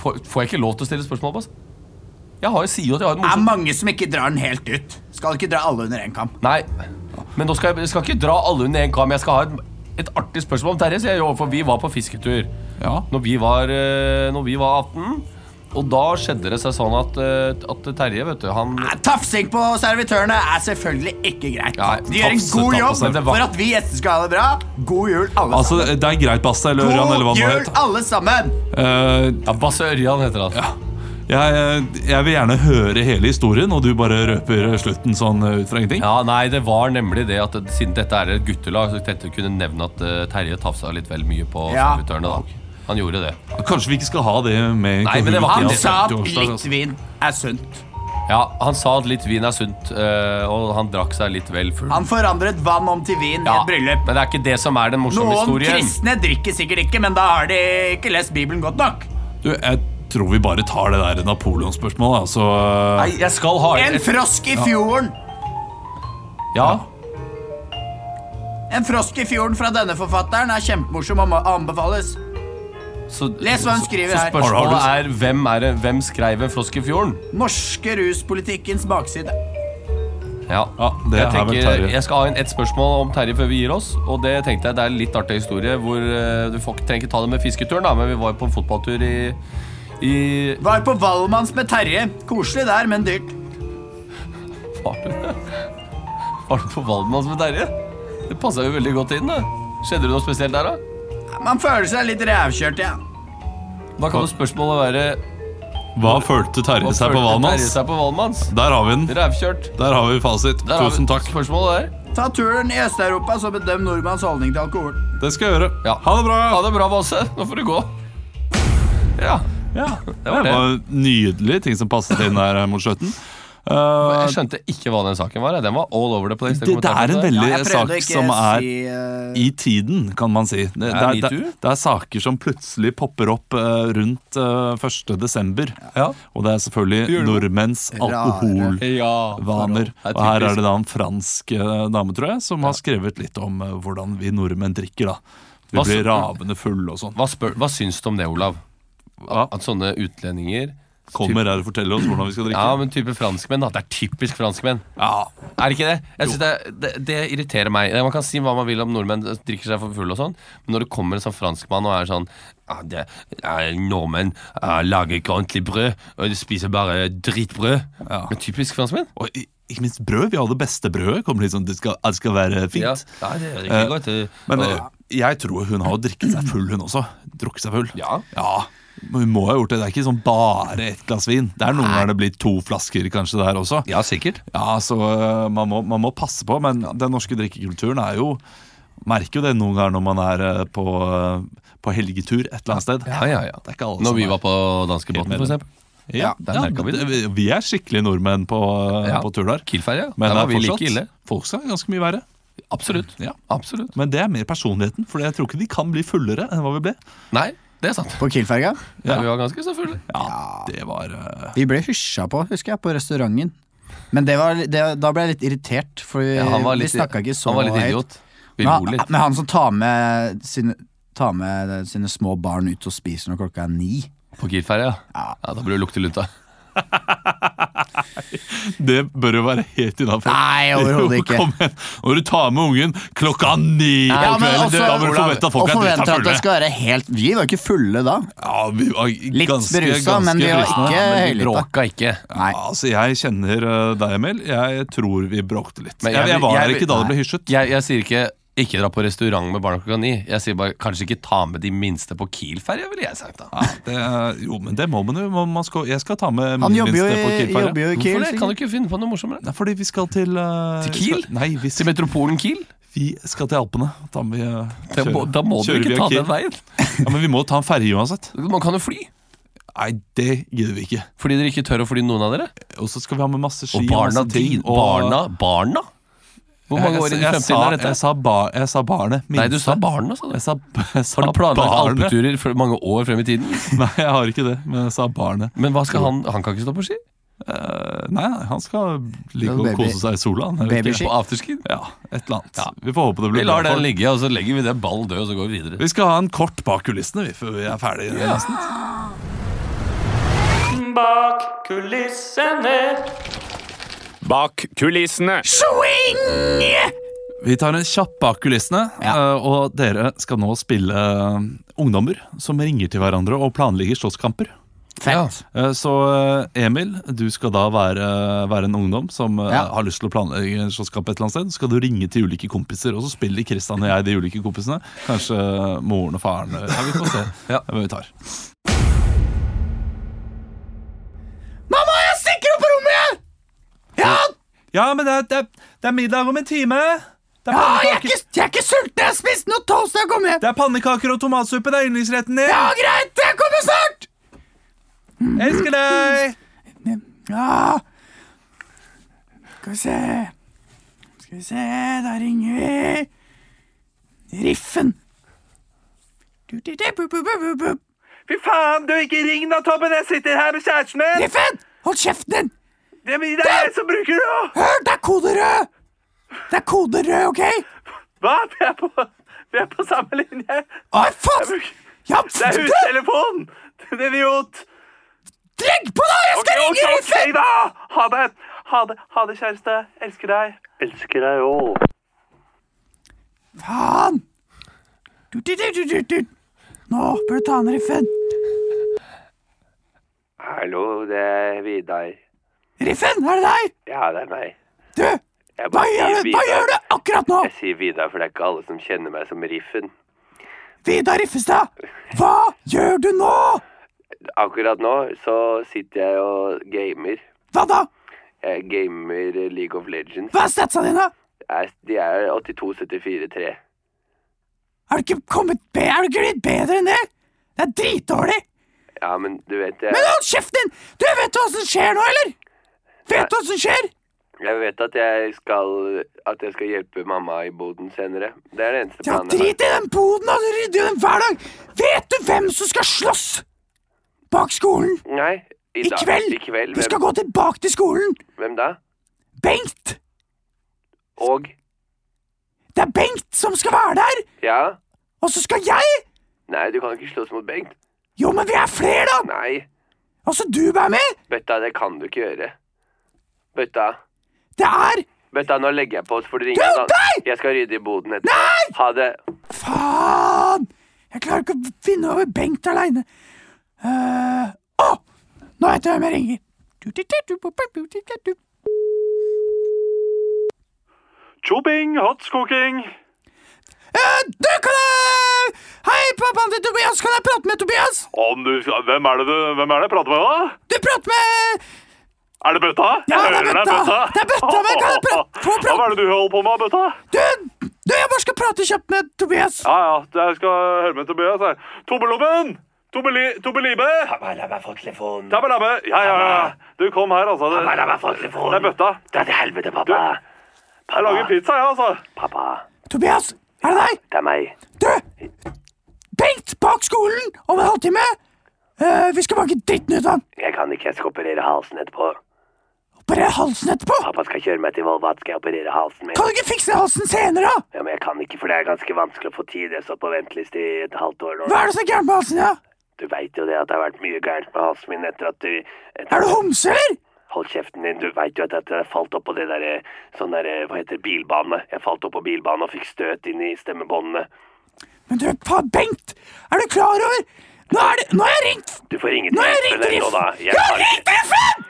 Speaker 3: får, får jeg ikke lov til å stille spørsmål, Basse? Jeg har jo sier jo at jeg har et
Speaker 2: Det er
Speaker 3: morsomt
Speaker 2: mange som ikke drar den helt ut. Skal ikke dra alle under én kam.
Speaker 3: Nei, men nå skal jeg, jeg skal ikke dra alle under én kam. Jeg skal ha et, et artig spørsmål om Terje, sier jeg jo, for vi var på fisketur.
Speaker 1: Ja.
Speaker 3: Når vi var, eh, når vi var 18 Og da skjedde det seg sånn at, eh, at Terje, vet du, han
Speaker 2: Nei, Tafsing på servitørene er selvfølgelig ikke greit.
Speaker 3: Nei,
Speaker 2: De gjør en
Speaker 1: tafse,
Speaker 2: god
Speaker 1: tafse,
Speaker 2: jobb
Speaker 1: men det var-
Speaker 2: for at vi gjester skal ha det bra. God jul, alle
Speaker 1: Altså, det er greit, Basse eller Ørjan,
Speaker 2: sammen.
Speaker 1: eller hva
Speaker 2: God
Speaker 1: det nå
Speaker 2: jul,
Speaker 1: het.
Speaker 2: alle sammen!
Speaker 1: Eh,
Speaker 3: ja, Basse Ørjan heter han.
Speaker 1: jeg, jeg vil gjerne høre hele historien, og du bare røper slutten sånn eh, ut fra ingenting.
Speaker 3: Ja, nei, det var nemlig det at siden dette er et guttelag, så tenkte jeg kunne nevne at eh, Terje tafsa litt vel mye på
Speaker 2: Ja.
Speaker 3: servitørene, da. Han gjorde det.
Speaker 1: Kanskje vi ikke skal ha det med
Speaker 3: Nei, men det var
Speaker 1: Kahoot i
Speaker 2: Han
Speaker 3: ikke det.
Speaker 2: sa at
Speaker 1: torsdag,
Speaker 2: litt
Speaker 1: altså.
Speaker 2: vin er sunt.
Speaker 3: Ja, han sa at litt vin er sunt, eh, og han drakk seg litt vel full.
Speaker 2: Han forandret vann om til vin i
Speaker 3: ja,
Speaker 2: et bryllup.
Speaker 3: Men det er ikke det som er den morsomme
Speaker 2: Noen
Speaker 3: historien.
Speaker 2: kristne drikker sikkert ikke, men da har de ikke lest Bibelen godt nok.
Speaker 1: Du, jeg tror vi bare tar det der Napoleon-spørsmålet, altså.
Speaker 3: Nei, jeg skal ha
Speaker 2: En frosk i fjorden!
Speaker 3: Ja,
Speaker 2: En frosk i fjorden fra denne forfatteren er kjempemorsom og må anbefales.
Speaker 3: så,
Speaker 2: Les hva hun skriver her.
Speaker 3: så spørsmålet er hvem, er det, hvem skrev en frosk i fjorden?
Speaker 2: Norske ruspolitikkens bakside.
Speaker 3: Ja,
Speaker 1: Ja, det
Speaker 3: jeg,
Speaker 1: er vel
Speaker 3: tenker,
Speaker 1: Terje.
Speaker 3: jeg skal ha en, et spørsmål om Terje før vi gir oss. Og det tenkte jeg det er en litt artig historie. Hvor eh, Du får, ikke- trenger ikke ta det med fisketuren, da men vi var på en fotballtur i, i <laughs>
Speaker 2: Var på Valmanns med Terje. Koselig der, men dyrt.
Speaker 3: Var du, var du på Valmans med Terje? Det passa jo veldig godt inn. da Skjedde det noe spesielt der, da?
Speaker 2: Man føler seg litt revkjørt, ja.
Speaker 3: Da kan jo spørsmålet være
Speaker 1: Hva følte
Speaker 3: hva
Speaker 1: Terje seg på
Speaker 3: følte
Speaker 1: hvalen
Speaker 3: Terje
Speaker 1: hans?
Speaker 3: seg på Valmans?
Speaker 1: Der har vi den.
Speaker 3: Rævkjørt.
Speaker 1: Der har vi fasit.
Speaker 3: Der har vi
Speaker 1: Tusen takk.
Speaker 3: Spørsmålet der.
Speaker 2: Ta turen i Øst-Europa, så bedøm nordmanns holdning til alkohol.
Speaker 1: Det skal jeg gjøre.
Speaker 3: Ja.
Speaker 1: Ha det bra!
Speaker 3: Ha det bra, Basse. Nå får du gå. Ja.
Speaker 1: Ja, det
Speaker 3: var
Speaker 1: var, nydelig ting som passet inn der eh, mot slutten. Eh,
Speaker 3: Jeg skjønte ikke hva den saken var. jeg. Den var all over the place. den
Speaker 1: det, det er
Speaker 3: kommentaren
Speaker 1: en
Speaker 3: der.
Speaker 1: veldig
Speaker 2: jeg
Speaker 1: sak
Speaker 2: prøvde å ikke
Speaker 1: som er
Speaker 2: si eh,
Speaker 1: i tiden, kan man si. Det, det, er, det,
Speaker 3: metoo?
Speaker 1: det er saker som plutselig popper opp eh, rundt eh, 1. desember.
Speaker 3: Ja.
Speaker 1: Og det er selvfølgelig nordmenns alkoholvaner.
Speaker 3: Ja. Det
Speaker 1: Og
Speaker 3: er
Speaker 1: her
Speaker 3: typisk.
Speaker 1: er det da en fransk eh, dame, tror jeg, som har skrevet litt om eh, hvordan vi nordmenn drikker. da. Vi
Speaker 3: Hva
Speaker 1: blir
Speaker 3: så-
Speaker 1: ravende fulle og sånn.
Speaker 3: Hva, spør, hva syns du om det, Olav? At sånne utlendinger
Speaker 1: Kommer her og forteller oss hvordan vi skal drikke.
Speaker 3: Ja, men type franskmenn. da. Det er typisk franskmenn.
Speaker 1: Ja,
Speaker 3: Er det ikke det? Jeg synes det, det, det irriterer meg. Man kan si hva man vil om nordmenn eh, drikker seg for full og sånn, men når det kommer en sånn franskmann og er sånn ja, det, ja, Nordmenn ja, lager ikke ordentlig brød, og de spiser bare drittbrød. Men typisk franskmenn.
Speaker 1: Og i- ikke minst brød. Vi har det beste brødet. Kommer liksom, det, skal, det skal være fint.
Speaker 3: Ja, ja, det er ikke
Speaker 1: Eh,
Speaker 3: godt. det-
Speaker 1: Men
Speaker 3: og-
Speaker 1: eh, jeg tror hun har drikket seg full, hun også. Drukket seg full.
Speaker 3: Ja.
Speaker 1: Men hun må ha gjort det. Det er ikke sånn bare ett glass vin. Det er noen ganger det blir to flasker kanskje der også.
Speaker 3: ja, sikkert.
Speaker 1: Ja, så eh, man må, man må passe på. Men den norske drikkekulturen er jo Merker jo det noen ganger når man er eh, på, eh, på helgetur et eller annet sted.
Speaker 3: Ja, ja, ja.
Speaker 1: Det er ikke alle
Speaker 3: Når
Speaker 1: som
Speaker 3: vi
Speaker 1: er-
Speaker 3: var på danskebåten,
Speaker 1: Helt
Speaker 3: for
Speaker 1: med
Speaker 3: eksempel.
Speaker 1: ja,
Speaker 3: der
Speaker 1: ja,
Speaker 3: merket vi det.
Speaker 1: vi, vi er skikkelig nordmenn på, eh,
Speaker 3: Ja.
Speaker 1: på tur der.
Speaker 3: Kielferja.
Speaker 1: Men
Speaker 3: Der
Speaker 1: det
Speaker 3: var
Speaker 1: er
Speaker 3: vi
Speaker 1: fortsatt
Speaker 3: like ille.
Speaker 1: Folk skal ganske mye verre.
Speaker 3: Absolutt.
Speaker 1: Ja.
Speaker 3: Absolutt.
Speaker 1: Men det er mer personligheten, for jeg tror ikke de kan bli fullere enn hva vi ble.
Speaker 3: Nei, det er sant.
Speaker 2: På Kielferga?
Speaker 3: Ja. Vi var ganske så fulle.
Speaker 1: Ja, det var eh,
Speaker 2: Vi ble hysja på, husker jeg, på restauranten. Men det var, det, da ble jeg litt irritert, for
Speaker 3: Ja, han var
Speaker 2: vi
Speaker 3: litt,
Speaker 2: snakka ikke så
Speaker 3: han var litt
Speaker 2: høyt.
Speaker 3: idiot. Vi
Speaker 2: Men
Speaker 3: lo
Speaker 2: han,
Speaker 3: litt.
Speaker 2: men han som tar med, sine, tar med sine små barn ut og spiser når klokka er ni
Speaker 3: På Kielferja? Ja. Da burde det lukte lunta.
Speaker 1: Det bør jo være helt innafor.
Speaker 2: Nei, overhodet ikke.
Speaker 1: Når du tar med ungen klokka ni på
Speaker 2: Ja, men
Speaker 1: kvelden,
Speaker 2: også-
Speaker 1: da bør du forvente at
Speaker 2: Og
Speaker 1: folk er drita
Speaker 2: forventer at det
Speaker 1: fulle.
Speaker 2: skal være helt Vi var ikke fulle da.
Speaker 1: Ja, vi var
Speaker 2: Litt
Speaker 1: ganske-
Speaker 2: berusa, men vi var
Speaker 1: ganske
Speaker 2: ikke
Speaker 1: brusende.
Speaker 3: Men vi
Speaker 2: høylytta.
Speaker 3: bråka ikke.
Speaker 2: Nei.
Speaker 1: Ja, Altså, jeg kjenner eh, deg, Emil. Jeg tror vi bråkte litt.
Speaker 3: Men
Speaker 1: Jeg,
Speaker 3: jeg
Speaker 1: jeg,
Speaker 3: vil-
Speaker 1: var
Speaker 3: jeg
Speaker 1: her
Speaker 3: vil-
Speaker 1: ikke da det ble hysjet.
Speaker 3: Jeg, jeg sier ikke 'ikke dra på restaurant med barna klokka ni'. Jeg sier bare 'kanskje ikke ta med de minste på Kielferja', ville jeg sagt da.
Speaker 1: Det, jo, men det må man jo. Man- Man skal, jeg skal ta med
Speaker 2: Han
Speaker 1: min
Speaker 2: jobber jo
Speaker 1: minste på
Speaker 2: i,
Speaker 1: Kielferga.
Speaker 2: jobber jo i Kiel.
Speaker 3: Hvorfor det? Kan du
Speaker 2: sikkert.
Speaker 3: ikke finne på noe morsommere?
Speaker 1: Nei, fordi vi skal til eh,
Speaker 3: Til Kiel?
Speaker 1: Skal, nei, vi,
Speaker 3: Til metropolen Kiel?
Speaker 1: vi skal til Alpene. Da må vi eh,
Speaker 3: Da må,
Speaker 1: kjøre-
Speaker 3: da må du
Speaker 1: kjører
Speaker 3: ikke
Speaker 1: via
Speaker 3: ta
Speaker 1: Kiel.
Speaker 3: den veien.
Speaker 1: Ja, Men vi må ta en ferge uansett.
Speaker 3: Man kan jo fly.
Speaker 1: Nei, det gidder vi ikke.
Speaker 3: Fordi dere ikke tør å fly noen av dere.
Speaker 1: Og så skal vi ha med masse ski
Speaker 3: altså, Og barna
Speaker 1: masse ting,
Speaker 3: dine. Barna? Barna? Hvor mange år
Speaker 1: jeg,
Speaker 3: inn i
Speaker 1: jeg, sa,
Speaker 3: fremtiden er
Speaker 1: jeg,
Speaker 3: dette?
Speaker 1: sa bar, jeg sa barnet. Minste.
Speaker 3: Nei, du sa barna, sa du.
Speaker 1: Jeg sa, jeg sa
Speaker 3: Har du planlagt
Speaker 1: barnet.
Speaker 3: alpeturer for mange år frem i tiden?
Speaker 1: <laughs> Nei, jeg har ikke det, men jeg sa barnet.
Speaker 3: Men hva skal han Han kan ikke stå på ski?
Speaker 1: Eh, Nei, nei, han skal ligge
Speaker 2: Ja,
Speaker 1: og
Speaker 2: baby-
Speaker 1: kose seg i sola. han, jeg vet
Speaker 2: babyski.
Speaker 1: ikke.
Speaker 3: På afterski?
Speaker 1: Ja, et eller annet. Vi får håpe det
Speaker 3: Vi
Speaker 1: blir
Speaker 3: lar
Speaker 1: bra
Speaker 3: den
Speaker 1: for
Speaker 3: ligge, og så legger vi den ballen død, og så går vi videre.
Speaker 1: Vi skal ha en kort bak kulissene vi, før vi er ferdige. nesten.
Speaker 5: Bak kulissene.
Speaker 8: Bak kulissene.
Speaker 1: Vi tar en kjapp bak kulissene, eh, og dere skal nå spille eh, ungdommer som ringer til hverandre og planlegger slåsskamper.
Speaker 6: Fett.
Speaker 1: Eh, Så eh, Emil, du skal da være, være en ungdom som eh,
Speaker 6: Ja.
Speaker 1: har lyst til å planlegge en slåsskamp et eller annet sted. Så skal du ringe til ulike kompiser, og så spiller Kristian og jeg de ulike kompisene. Kanskje moren og faren. eh, Ja, vi får
Speaker 6: <laughs>
Speaker 1: se
Speaker 9: Ja.
Speaker 1: hvem vi tar.
Speaker 6: Mamma, jeg stikker opp på rommet, jeg! Ja,
Speaker 1: Ja, men det, er- det er- det er middag om en time. Det er
Speaker 6: ja jeg, er ikke, jeg er ikke sulten. Jeg har spist noe toast da jeg kom hjem.
Speaker 1: det er pannekaker og tomatsuppe. Det er yndlingsretten din.
Speaker 6: Ja, greit. Jeg kommer snart.
Speaker 1: Elsker deg!
Speaker 6: Ja Skal vi se Skal vi se, da ringer vi Riffen Du, du, du, bu, bu, bu, bu, bu.
Speaker 1: Fy faen, du, ikke ring da, Tobben. Jeg sitter her med kjæresten min.
Speaker 6: Riffen, hold kjeften din
Speaker 1: Det er jeg som bruker det òg.
Speaker 6: Hør, det er kode rød Det er kode rød, ok?
Speaker 1: Hva? Vi er, på, vi er på samme linje.
Speaker 6: Å, faen ja,
Speaker 1: Det er
Speaker 6: du,
Speaker 1: hustelefonen! Din idiot!
Speaker 6: Legg på da, jeg skal ringe Riffen
Speaker 1: da! Ha det. Ha det, kjæreste. Elsker deg.
Speaker 5: Elsker deg òg.
Speaker 6: Faen du, du, du, du, du, du. Nå bør du ta den, Riffen
Speaker 5: Hallo, det er Vidar.
Speaker 6: Riffen, er det deg?
Speaker 5: Ja, det er meg.
Speaker 6: Du,
Speaker 5: Jeg
Speaker 6: hva
Speaker 5: bare
Speaker 6: gjør
Speaker 5: sier
Speaker 6: du, hva gjør du akkurat nå?
Speaker 5: Jeg sier Vidar, for det er ikke alle som kjenner meg som Riffen.
Speaker 6: Vidar Riffestad, hva gjør du nå?
Speaker 5: Akkurat nå så sitter jeg og gamer.
Speaker 6: Hva da?
Speaker 5: Jeg gamer League of Legends.
Speaker 6: Hva er statsa dine?
Speaker 5: Jeg- De er 82-74-3.
Speaker 6: Er du ikke kommet be er du ikke blitt bedre enn det? Det er dritdårlig!
Speaker 5: Ja, men du vet jeg,
Speaker 6: Men hold kjeften din! Du vet hva som skjer nå, eller? Vet du hva som skjer?
Speaker 5: jeg vet at jeg skal At jeg skal hjelpe mamma i boden senere. Det er den eneste
Speaker 6: Ja,
Speaker 5: planen. jeg har.
Speaker 6: drit i den boden, da! Du rydder jo den hver dag! Vet du hvem som skal slåss bak skolen
Speaker 5: Nei, i,
Speaker 6: i
Speaker 5: dag.
Speaker 6: kveld?
Speaker 5: I kveld.
Speaker 6: Du skal
Speaker 5: Hvem,
Speaker 6: gå tilbake til skolen!
Speaker 5: hvem da?
Speaker 6: Bengt!
Speaker 5: Og
Speaker 6: Det er Bengt som skal være der!
Speaker 5: Ja?
Speaker 6: Og så skal jeg!
Speaker 5: Nei, du kan ikke slåss mot Bengt.
Speaker 6: Jo, men vi er flere, da!
Speaker 5: Nei.
Speaker 6: Og så du er med!
Speaker 5: Bøtta, det kan du ikke gjøre. Bøtta.
Speaker 6: Det er
Speaker 5: Bøtta, nå legger jeg på, så får du ringe
Speaker 6: Du,
Speaker 5: en annen-
Speaker 6: nei!
Speaker 5: Jeg skal rydde i boden etterpå. Nei! Ha det.
Speaker 6: Faen! Jeg klarer ikke å finne over Bengt aleine. Eh, Å! nå vet jeg hvem jeg ringer. Du-du-du-du-bu-bu-bu-du-du-du.
Speaker 10: Chopping, hot cooking.
Speaker 6: Eh, du, kan jeg Hei, pappaen til Tobias. Kan jeg prate med Tobias?
Speaker 10: Om du, hvem er det du hvem er det jeg prater med, da?
Speaker 6: Du prater med
Speaker 10: Er det bøtta?
Speaker 6: Ja,
Speaker 10: Jeg
Speaker 6: det er
Speaker 10: hører
Speaker 6: bøtta. Det er bøtta, men kan jeg prate- få prate-
Speaker 10: <laughs> Hva er det du holder på med, bøtta?
Speaker 6: Du, du jeg bare skal prate kjapt med Tobias.
Speaker 10: Ja, ja, jeg skal høre med Tobias. jeg. Tobelommen! Tobeli, Tobelibe!
Speaker 5: La meg få telefonen.
Speaker 10: Tabelabbe! Ja, ja, ja. Du, kom her, altså. Det,
Speaker 5: meg få telefonen.
Speaker 10: det er bøtta.
Speaker 5: Dra til helvete, pappa.
Speaker 10: Jeg lager pizza, jeg, altså.
Speaker 5: Pappa,
Speaker 6: Tobias, er det deg?
Speaker 5: det er meg.
Speaker 6: Du! Bengt bak skolen om en halvtime. Eh, vi skal banke dritten ut av ham.
Speaker 5: Jeg kan ikke, jeg skal operere halsen etterpå.
Speaker 6: Operere halsen etterpå.
Speaker 5: Pappa skal kjøre meg til Volvat, skal jeg operere halsen min.
Speaker 6: Kan du ikke fikse halsen senere, da?
Speaker 5: Ja, men jeg kan ikke, for det er ganske vanskelig å få tid. Jeg har stått på venteliste i et halvt år nå.
Speaker 6: Hva er det som er gærent med halsen? Ja?
Speaker 5: Du veit jo det at det har vært mye gærent med halsen min etter at du etter,
Speaker 6: Er du homse, eller?
Speaker 5: Hold kjeften din. Du veit jo at jeg har falt opp på det derre sånn derre Hva heter det? Bilbane. Jeg falt opp på bilbane og fikk støt inn i stemmebåndene.
Speaker 6: Men du, faen, Bengt! Er du klar over Nå er det Nå har jeg ringt
Speaker 5: Du får ringe
Speaker 6: Nå
Speaker 5: til
Speaker 6: har jeg ringt Riffen!
Speaker 5: Riffen nå, da.
Speaker 6: Jeg har ringt Riffen!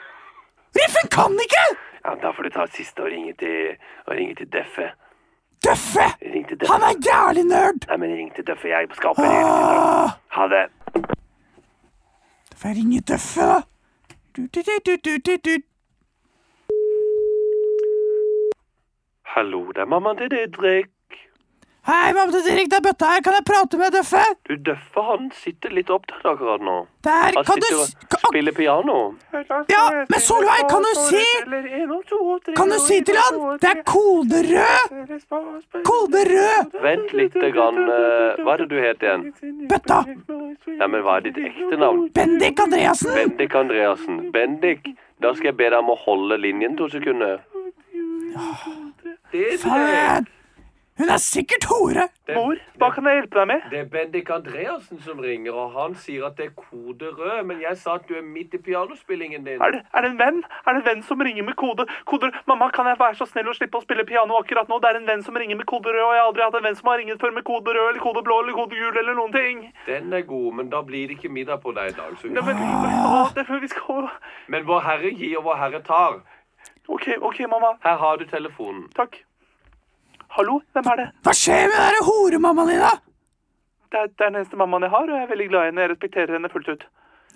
Speaker 6: Riffen kan ikke!
Speaker 5: Ja, men da får du ta siste og ringe til og ringe til Døffe.
Speaker 6: Døffe!
Speaker 5: Ring til Døffe.
Speaker 6: Han er jævlig nerd!
Speaker 5: Nei, men ring til Døffe. Jeg skal operere. liksom. Ha det.
Speaker 6: Da får jeg ringe Døffe, da. Du, du, du, du, du, du, du.
Speaker 5: Hallo, det er mammaen til Didrik.
Speaker 6: Hei, mamma til Dirk, det er bøtta her. Kan jeg prate med Døffe?
Speaker 5: Du, Døffe, han sitter litt opptatt akkurat nå.
Speaker 6: Der,
Speaker 5: Han
Speaker 6: kan du
Speaker 5: sitter
Speaker 6: s-
Speaker 5: og
Speaker 6: kan-
Speaker 5: spiller piano.
Speaker 6: Ja, men Solveig, kan du si Kan du si til han? Det er kode rød! Kode rød!
Speaker 5: Vent litt, grann. eh, Hva er det du heter igjen?
Speaker 6: Bøtta!
Speaker 5: Nei, men hva er ditt ekte navn?
Speaker 6: Bendik Andreassen!
Speaker 5: Bendik Andreassen. Bendik, da skal jeg be deg om å holde linjen to sekunder.
Speaker 6: Faen! Hun er sikkert hore!
Speaker 4: Mor, hva kan jeg hjelpe deg med?
Speaker 5: Det er Bendik Andreassen som ringer, og han sier at det er kode rød, men jeg sa at du er midt i pianospillingen din.
Speaker 4: Er det, er det en venn? Er det en venn som ringer med kode? Koder, mamma, kan jeg være så snill å slippe å spille piano akkurat nå? Det er en venn som ringer med kode rød, og jeg har aldri hatt en venn som har ringet før med kode rød, eller kode blå, eller kode gul, eller noen ting.
Speaker 5: Den er god, men da blir det ikke middag på deg i dag. Så...
Speaker 4: Nei, men å, det, vi skal...
Speaker 5: Men vår herre gir og vår herre tar.
Speaker 4: Ok, ok, mamma.
Speaker 5: Her har du telefonen.
Speaker 4: Takk. Hallo, hvem er det?
Speaker 6: Hva skjer med den derre horemammaen din, da?
Speaker 4: Det er, det er den eneste mammaen jeg har, og jeg er veldig glad i henne. Jeg respekterer henne fullt ut.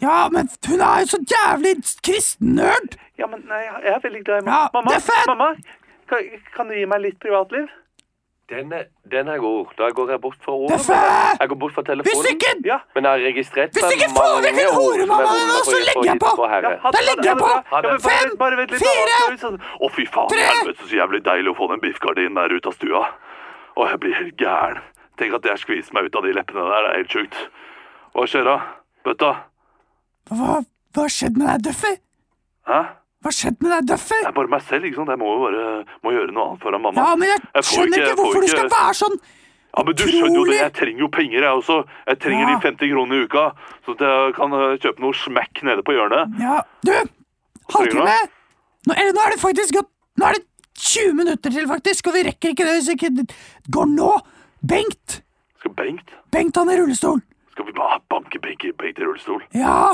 Speaker 6: Ja, men hun er jo så jævlig kristennerd!
Speaker 4: Ja, men nei, jeg er veldig glad i mamma.
Speaker 6: Ja,
Speaker 4: mamma,
Speaker 6: det er fett!
Speaker 4: mamma kan, kan du gi meg litt privatliv?
Speaker 5: Den er, den er god. Da går jeg bort fra ordet.
Speaker 6: Tøffe!
Speaker 5: Jeg går bort fra
Speaker 6: Hvis
Speaker 5: telefonen.
Speaker 6: ikke
Speaker 4: Ja.
Speaker 5: Men jeg har registrert
Speaker 6: Hvis ikke får vi ikke horemammaen din, nå, så legger jeg på!
Speaker 4: ha det,
Speaker 6: Da legger
Speaker 4: ha
Speaker 6: jeg
Speaker 4: det
Speaker 6: på!
Speaker 4: bra. Ja, men bare-
Speaker 6: Fem,
Speaker 4: bare vent litt, da.
Speaker 6: fire,
Speaker 4: Skal vi se- sånn. Å, fy faen.
Speaker 6: tre.
Speaker 4: Helvete, så jævlig deilig å få den biffgardinen der ut av stua. Å, jeg blir helt gæren. Tenk at jeg skviser meg ut av de leppene der. Det er helt sjukt. Hva skjer da? Bøtta?
Speaker 6: Hva hva har skjedd med deg, Duffy?
Speaker 4: Hæ?
Speaker 6: Hva har skjedd med deg, Duffy?
Speaker 4: Det er bare meg selv, ikke sant? Jeg må jo bare må gjøre noe annet foran mamma.
Speaker 6: Ja, men jeg
Speaker 4: Jeg får
Speaker 6: skjønner
Speaker 4: ikke-
Speaker 6: ikke
Speaker 4: jeg får
Speaker 6: hvorfor du skal
Speaker 4: ikke-
Speaker 6: være sånn
Speaker 4: Ja, men du skjønner jo det.
Speaker 6: Utrolig!
Speaker 4: Jeg trenger jo penger, jeg også. Jeg
Speaker 6: Ja.
Speaker 4: trenger de 50 kronene i uka, så at jeg kan eh, kjøpe noe smekk nede på hjørnet.
Speaker 6: Ja, du! Halvtime! Nå, eller nå er det faktisk gått Nå er det 20 minutter til, faktisk, og vi rekker ikke det hvis ikke det går nå! Bengt!
Speaker 4: Skal Bengt?
Speaker 6: Bengt, han i rullestol.
Speaker 4: Skal vi bare banke Bengt i- Bengt i rullestol?
Speaker 6: Ja!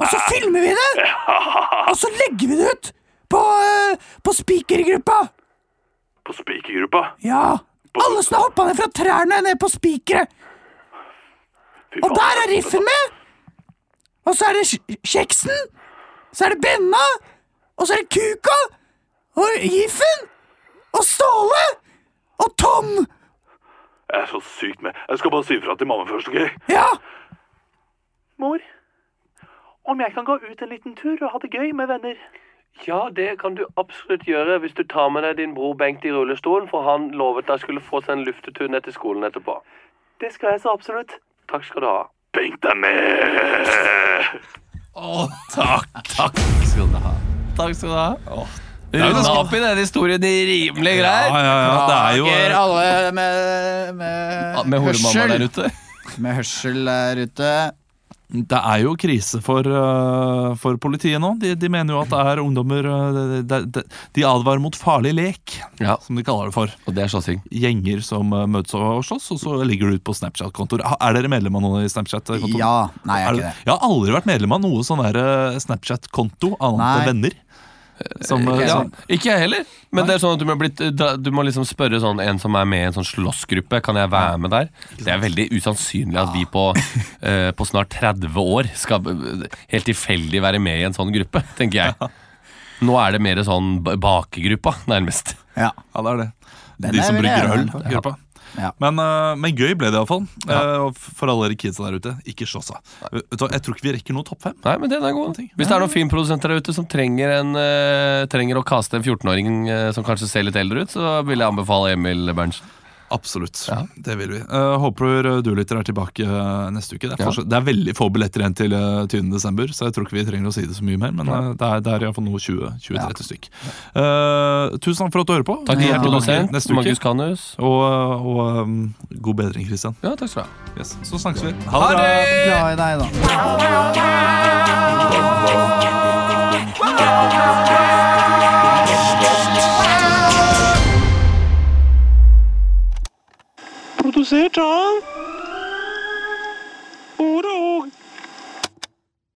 Speaker 6: Og så filmer vi det!
Speaker 4: <laughs>
Speaker 6: Og så legger vi det ut på, eh, på spikergruppa!
Speaker 4: På spikergruppa?
Speaker 6: Ja! Alle som har hoppa ned fra trærne, ned på spikere.
Speaker 4: Fy
Speaker 6: Og der er riffen med! Og så er det Kj- Kjeksen! Så er det Benna! Og så er det Kuka! Og Giffen! Og Ståle! Og Tom!
Speaker 4: Jeg er så sykt med. Jeg skal bare si ifra til mamma først, OK?
Speaker 6: Ja!
Speaker 4: Mor, om jeg kan gå ut en liten tur og ha det gøy med venner?
Speaker 5: Ja, det kan du absolutt gjøre hvis du tar med deg din bror Bengt i rullestolen, for han lovet jeg skulle få seg en luftetur ned til skolen etterpå.
Speaker 4: Det skal jeg så absolutt.
Speaker 5: Takk skal du ha.
Speaker 4: Bengt er med!
Speaker 2: Takk skal du ha. Rydda opp i den historien i
Speaker 1: Ja,
Speaker 2: rimelige greier.
Speaker 1: ja, ja, det er jo
Speaker 6: Beklager alle med, med,
Speaker 2: Med horemamma
Speaker 6: hørsel.
Speaker 2: der ute.
Speaker 6: Med hørsel der ute.
Speaker 1: Det er jo krise for, øh, for politiet nå. De, de mener jo at det er ungdommer øh, De, de, de advarer mot farlig lek,
Speaker 3: Ja.
Speaker 1: som de kaller det for.
Speaker 3: Og det er slåssing.
Speaker 1: Gjenger som øh, møtes og slåss, og så ligger det ut på Snapchat-kontor. Ha- Er dere medlem av noe i Snapchat-kontor?
Speaker 6: Ja. Nei, jeg
Speaker 1: Er
Speaker 6: er
Speaker 1: det-
Speaker 6: ikke det.
Speaker 1: Jeg har aldri vært medlem av noe sånn der, øh, Snapchat-konto, annet enn venner.
Speaker 6: Eh,
Speaker 1: Som, øh,
Speaker 3: Ja,
Speaker 1: som-
Speaker 3: ikke jeg heller. Men det er sånn at du må, blitt, da- du må liksom spørre sånn, en som er med i en sånn slåssgruppe, kan jeg være med der? Det er veldig usannsynlig at vi
Speaker 6: <laughs>
Speaker 3: på, eh, på snart 30 år skal eh, helt tilfeldig være med i en sånn gruppe, tenker jeg. Nå er det mer sånn ba- bakegruppa, nærmest.
Speaker 6: Ja.
Speaker 1: ja, det er det.
Speaker 6: Den
Speaker 1: De
Speaker 6: er
Speaker 1: som
Speaker 6: vel
Speaker 1: brygger
Speaker 6: jeg
Speaker 1: øl.
Speaker 6: med på.
Speaker 1: Gruppa.
Speaker 6: Ja.
Speaker 1: Men, øh, men gøy ble det iallfall. Ja. eh, for alle dere kidsa der ute, ikke slåss av. Vet du hva, Jeg tror ikke vi rekker noe topp fem.
Speaker 3: Nei, men den er god. Hvis det er noen filmprodusenter der ute som trenger, en, eh, trenger å kaste en 14-åring eh, som kanskje ser litt eldre ut, så vil jeg anbefale Emil Berntsen.
Speaker 1: Absolutt. Det vil vi. Eh, håper du lytter er tilbake eh, neste uke. Det er,
Speaker 3: Ja.
Speaker 1: fortsatt- det er veldig få billetter igjen til eh, 20. desember, så jeg tror ikke vi trenger å si det så mye mer. Men eh, det er, det er iallfall noe 20-30 stykk. Eh, tusen takk for at du hører på.
Speaker 3: Takk,
Speaker 1: Vi er
Speaker 3: ja.
Speaker 1: tilbake
Speaker 3: produsent
Speaker 1: neste uke.
Speaker 3: Magnus Kanus.
Speaker 1: Og, og um, god bedring, Christian.
Speaker 3: Ja, takk skal du ha.
Speaker 1: Yes. Så snakkes vi. Ha det! bra!
Speaker 6: Glad i deg, da.
Speaker 4: Produsert av